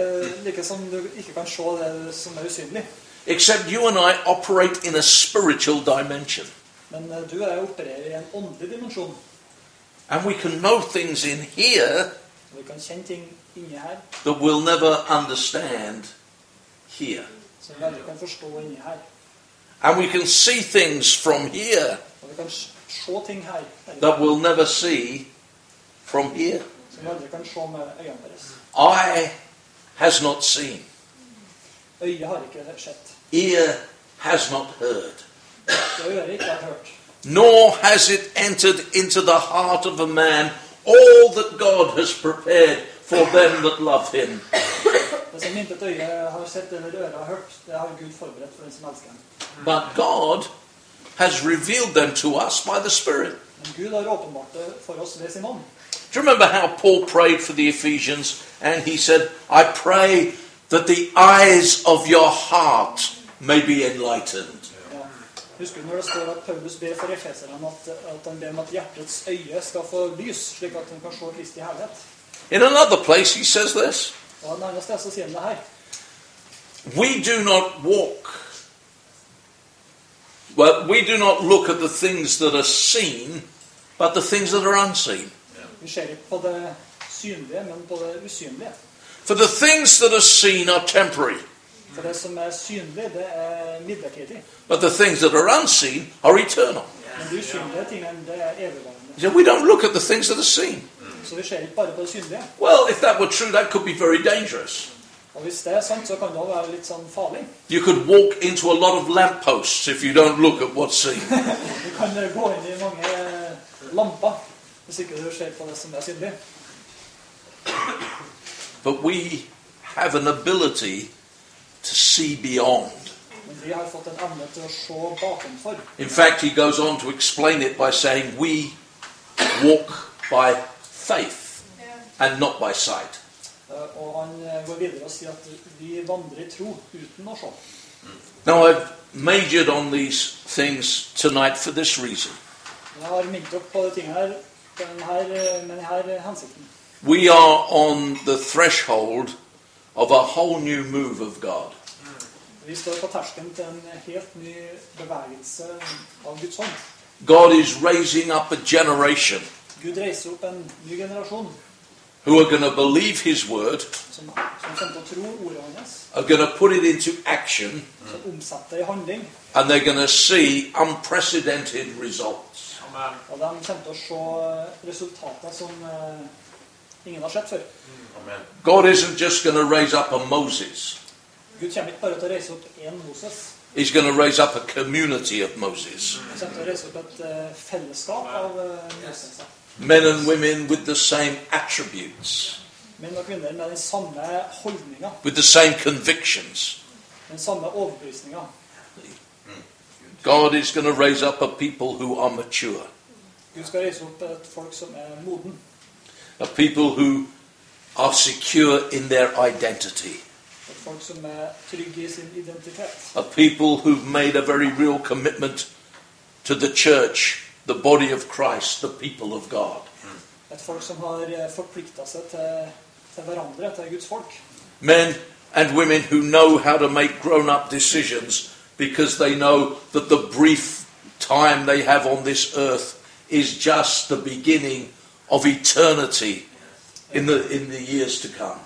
Speaker 2: like som du ikke kan se det som er usynlig.
Speaker 1: Except you and I operate in a spiritual dimension.
Speaker 2: Men eh, du og jeg opererer i en åndelig dimensjon.
Speaker 1: And we can know things in here
Speaker 2: Og vi kan kjenne ting inni her
Speaker 1: that we'll never understand here.
Speaker 2: som vi aldri kan forstå inni her.
Speaker 1: And we can see things from here
Speaker 2: Og vi kan s- se ting her
Speaker 1: that we'll never see from here.
Speaker 2: som vi aldri kan se med øynene våre.
Speaker 1: Eye has not seen,
Speaker 2: Øyet har ikke sett.
Speaker 1: ear has not heard,
Speaker 2: Det øret ikke har hørt.
Speaker 1: nor has it entered into the heart of a man all that God has prepared for them that love him.
Speaker 2: Det som intet øye har sett eller øre har hørt, det har Gud forberedt for den som elsker ham.
Speaker 1: But God has revealed them to us by the Spirit.
Speaker 2: Men Gud har åpenbart det for oss ved sin ånd.
Speaker 1: Do you remember how Paul prayed for the Ephesians and he said, I pray that the eyes of your heart may be enlightened.
Speaker 2: Ja. Husker du når det står at Paulus ber for efeserne at, at han ber om at hjertets øye skal få lys, slik at han kan se Kristi herlighet?
Speaker 1: In another place, he says this
Speaker 2: Og et annet sted så sier han det her.
Speaker 1: We do not walk, well, we do not look at the things that are seen, but the things that are unseen.
Speaker 2: Vi ser ikke på det synlige, men på det usynlige.
Speaker 1: For the things that are seen are temporary,
Speaker 2: For det som er synlig, det er midlertidig.
Speaker 1: but the things that are unseen are eternal.
Speaker 2: Men de usynlige tingene, det er evigvarende.
Speaker 1: So we don't look at the things that are seen.
Speaker 2: Så vi ser ikke bare på det synlige.
Speaker 1: Well, if that were true, that could be very dangerous.
Speaker 2: Og hvis det er sant, så kan det også være litt sånn farlig.
Speaker 1: You could walk into a lot of lampposts if you don't look at what's seen.
Speaker 2: Du kan eh, gå inn i mange eh, lamper hvis ikke du ser på det som er synlig.
Speaker 1: But we have an ability to see beyond.
Speaker 2: Men vi har fått en evne til å se bakenfor.
Speaker 1: In fact, he goes on to explain it by saying, We walk by faith and not by sight.
Speaker 2: Eh, Og han eh, går videre og sier at vi vandrer i tro uten å se.
Speaker 1: Now, I've majored on these things tonight for this reason.
Speaker 2: Jeg har minnet dere på de tingene her, den her, eh, med denne hensikten.
Speaker 1: We are on the threshold of a whole new move of God.
Speaker 2: Vi står på terskelen til en helt ny bevegelse av Guds hånd.
Speaker 1: God is raising up a generation
Speaker 2: Gud reiser opp en ny generasjon
Speaker 1: who are going to believe his word,
Speaker 2: som, som kommer til å tro ordet hans,
Speaker 1: are going to put it into action,
Speaker 2: som omsetter det i handling.
Speaker 1: and they're going to see unprecedented results.
Speaker 3: Amen.
Speaker 2: Og de kommer til å se resultater som eh, ingen har sett før.
Speaker 3: Amen.
Speaker 1: God isn't just going to raise up a Moses,
Speaker 2: Gud kommer ikke bare til å reise opp én Moses.
Speaker 1: He's going to raise up a community of Moses.
Speaker 2: Han kommer til å reise opp et eh, fellesskap av eh, Moses.
Speaker 1: Men and women with the same attributes,
Speaker 2: Menn og kvinner med den samme holdninga,
Speaker 1: with the same convictions.
Speaker 2: den samme overbevisninga.
Speaker 1: God is going to raise up a people who are mature,
Speaker 2: Gud skal reise opp et folk som er moden.
Speaker 1: a people who are secure in their identity,
Speaker 2: Et folk som er trygge i sin identitet.
Speaker 1: a people who've made a very real commitment to the church, the body of Christ, the people of God.
Speaker 2: Et folk som har forplikta seg til, til hverandre, til Guds folk.
Speaker 1: Men and women who know how to make grown up decisions because they know that the brief time they have on this earth is just the beginning of eternity in the, in the years to come.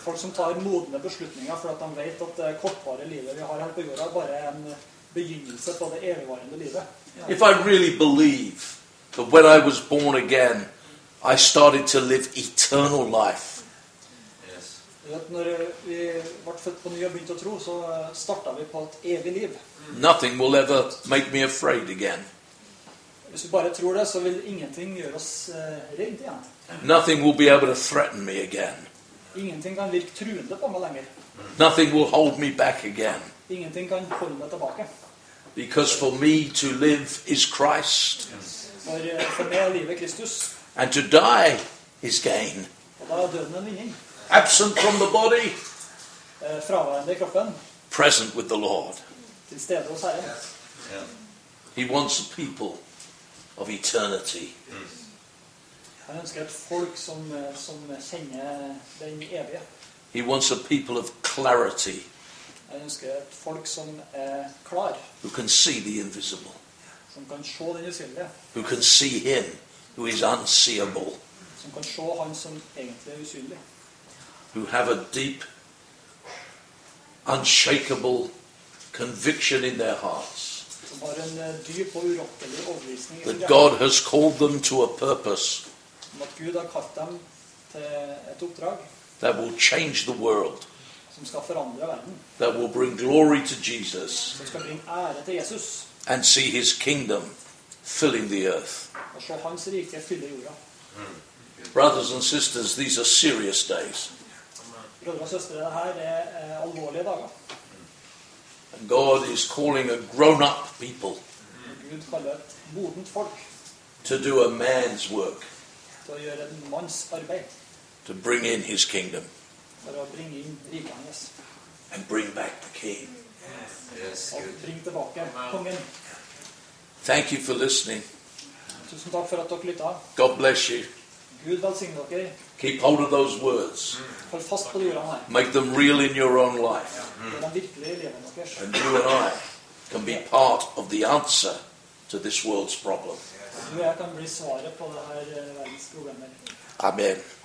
Speaker 2: Folk som tar modne beslutninger for at de vet at det kortvarige livet vi har her på jorda, bare er en begynnelse på det evigvarende livet.
Speaker 1: If I really believe that when I was born again, I started to live eternal life,
Speaker 3: Yes.
Speaker 2: Du vet, Når vi ble født på ny og begynte å tro, så starta vi på et evig liv.
Speaker 1: nothing will ever make me afraid again.
Speaker 2: Hvis vi bare tror det, så vil ingenting gjøre oss eh, redde igjen.
Speaker 1: Nothing will be able to threaten me again.
Speaker 2: Ingenting kan virke truende på meg lenger.
Speaker 1: Nothing will hold me back again.
Speaker 2: Ingenting kan holde meg tilbake.
Speaker 1: Because for me to live is Christ,
Speaker 2: For, eh, for meg er livet Kristus,
Speaker 1: and to die is gain.
Speaker 2: og da er døden en vinning.
Speaker 1: Absent from the body,
Speaker 2: Eh, Fraværende i kroppen,
Speaker 1: present with the Lord.
Speaker 2: til stede hos Herren.
Speaker 3: Yeah.
Speaker 1: He wants a people of eternity.
Speaker 2: Han ønsker et folk som, eh, som kjenner den evige.
Speaker 1: He wants a people of clarity
Speaker 2: Jeg ønsker et folk som er klar,
Speaker 1: who can see the invisible,
Speaker 2: som kan se den usynlige,
Speaker 1: who can see Him who is unseeable,
Speaker 2: som kan se han som egentlig er usynlig.
Speaker 1: who have a deep, unshakable conviction in their hearts
Speaker 2: Som har en eh, dyp og urokkelig overbevisning i sitt
Speaker 1: that
Speaker 2: hjerte
Speaker 1: God has called them to a purpose
Speaker 2: om at Gud har kalt dem til et oppdrag
Speaker 1: that will change the world.
Speaker 2: som skal forandre verden,
Speaker 1: that will bring glory to Jesus
Speaker 2: som skal bringe ære til Jesus,
Speaker 1: and see his kingdom filling the earth.
Speaker 2: og se hans rike fylle jorda.
Speaker 1: Brothers and sisters, these are serious days.
Speaker 2: Brødre og søstre, det her er eh, alvorlige dager.
Speaker 1: And God is calling a grown up people
Speaker 2: Og Gud kaller et modent folk
Speaker 1: to do a man's work,
Speaker 2: til å gjøre en manns arbeid
Speaker 1: to bring in his kingdom
Speaker 2: for å bringe inn riket hans
Speaker 1: and bring back the king.
Speaker 2: og
Speaker 3: Yes.
Speaker 2: Og
Speaker 3: Good.
Speaker 2: bring tilbake kongen.
Speaker 1: Thank you for listening.
Speaker 2: Tusen takk for at dere lytta.
Speaker 1: God bless you.
Speaker 2: Gud velsigne dere.
Speaker 1: Keep hold of those words.
Speaker 2: Hold fast på de ordene her.
Speaker 1: Make them real in your own life.
Speaker 2: Gjør dem virkelig i livet deres.
Speaker 1: And you and I can be part of the answer to this world's problem.
Speaker 2: Du og jeg kan bli svaret på det her eh, verdens problemer.
Speaker 1: Amen.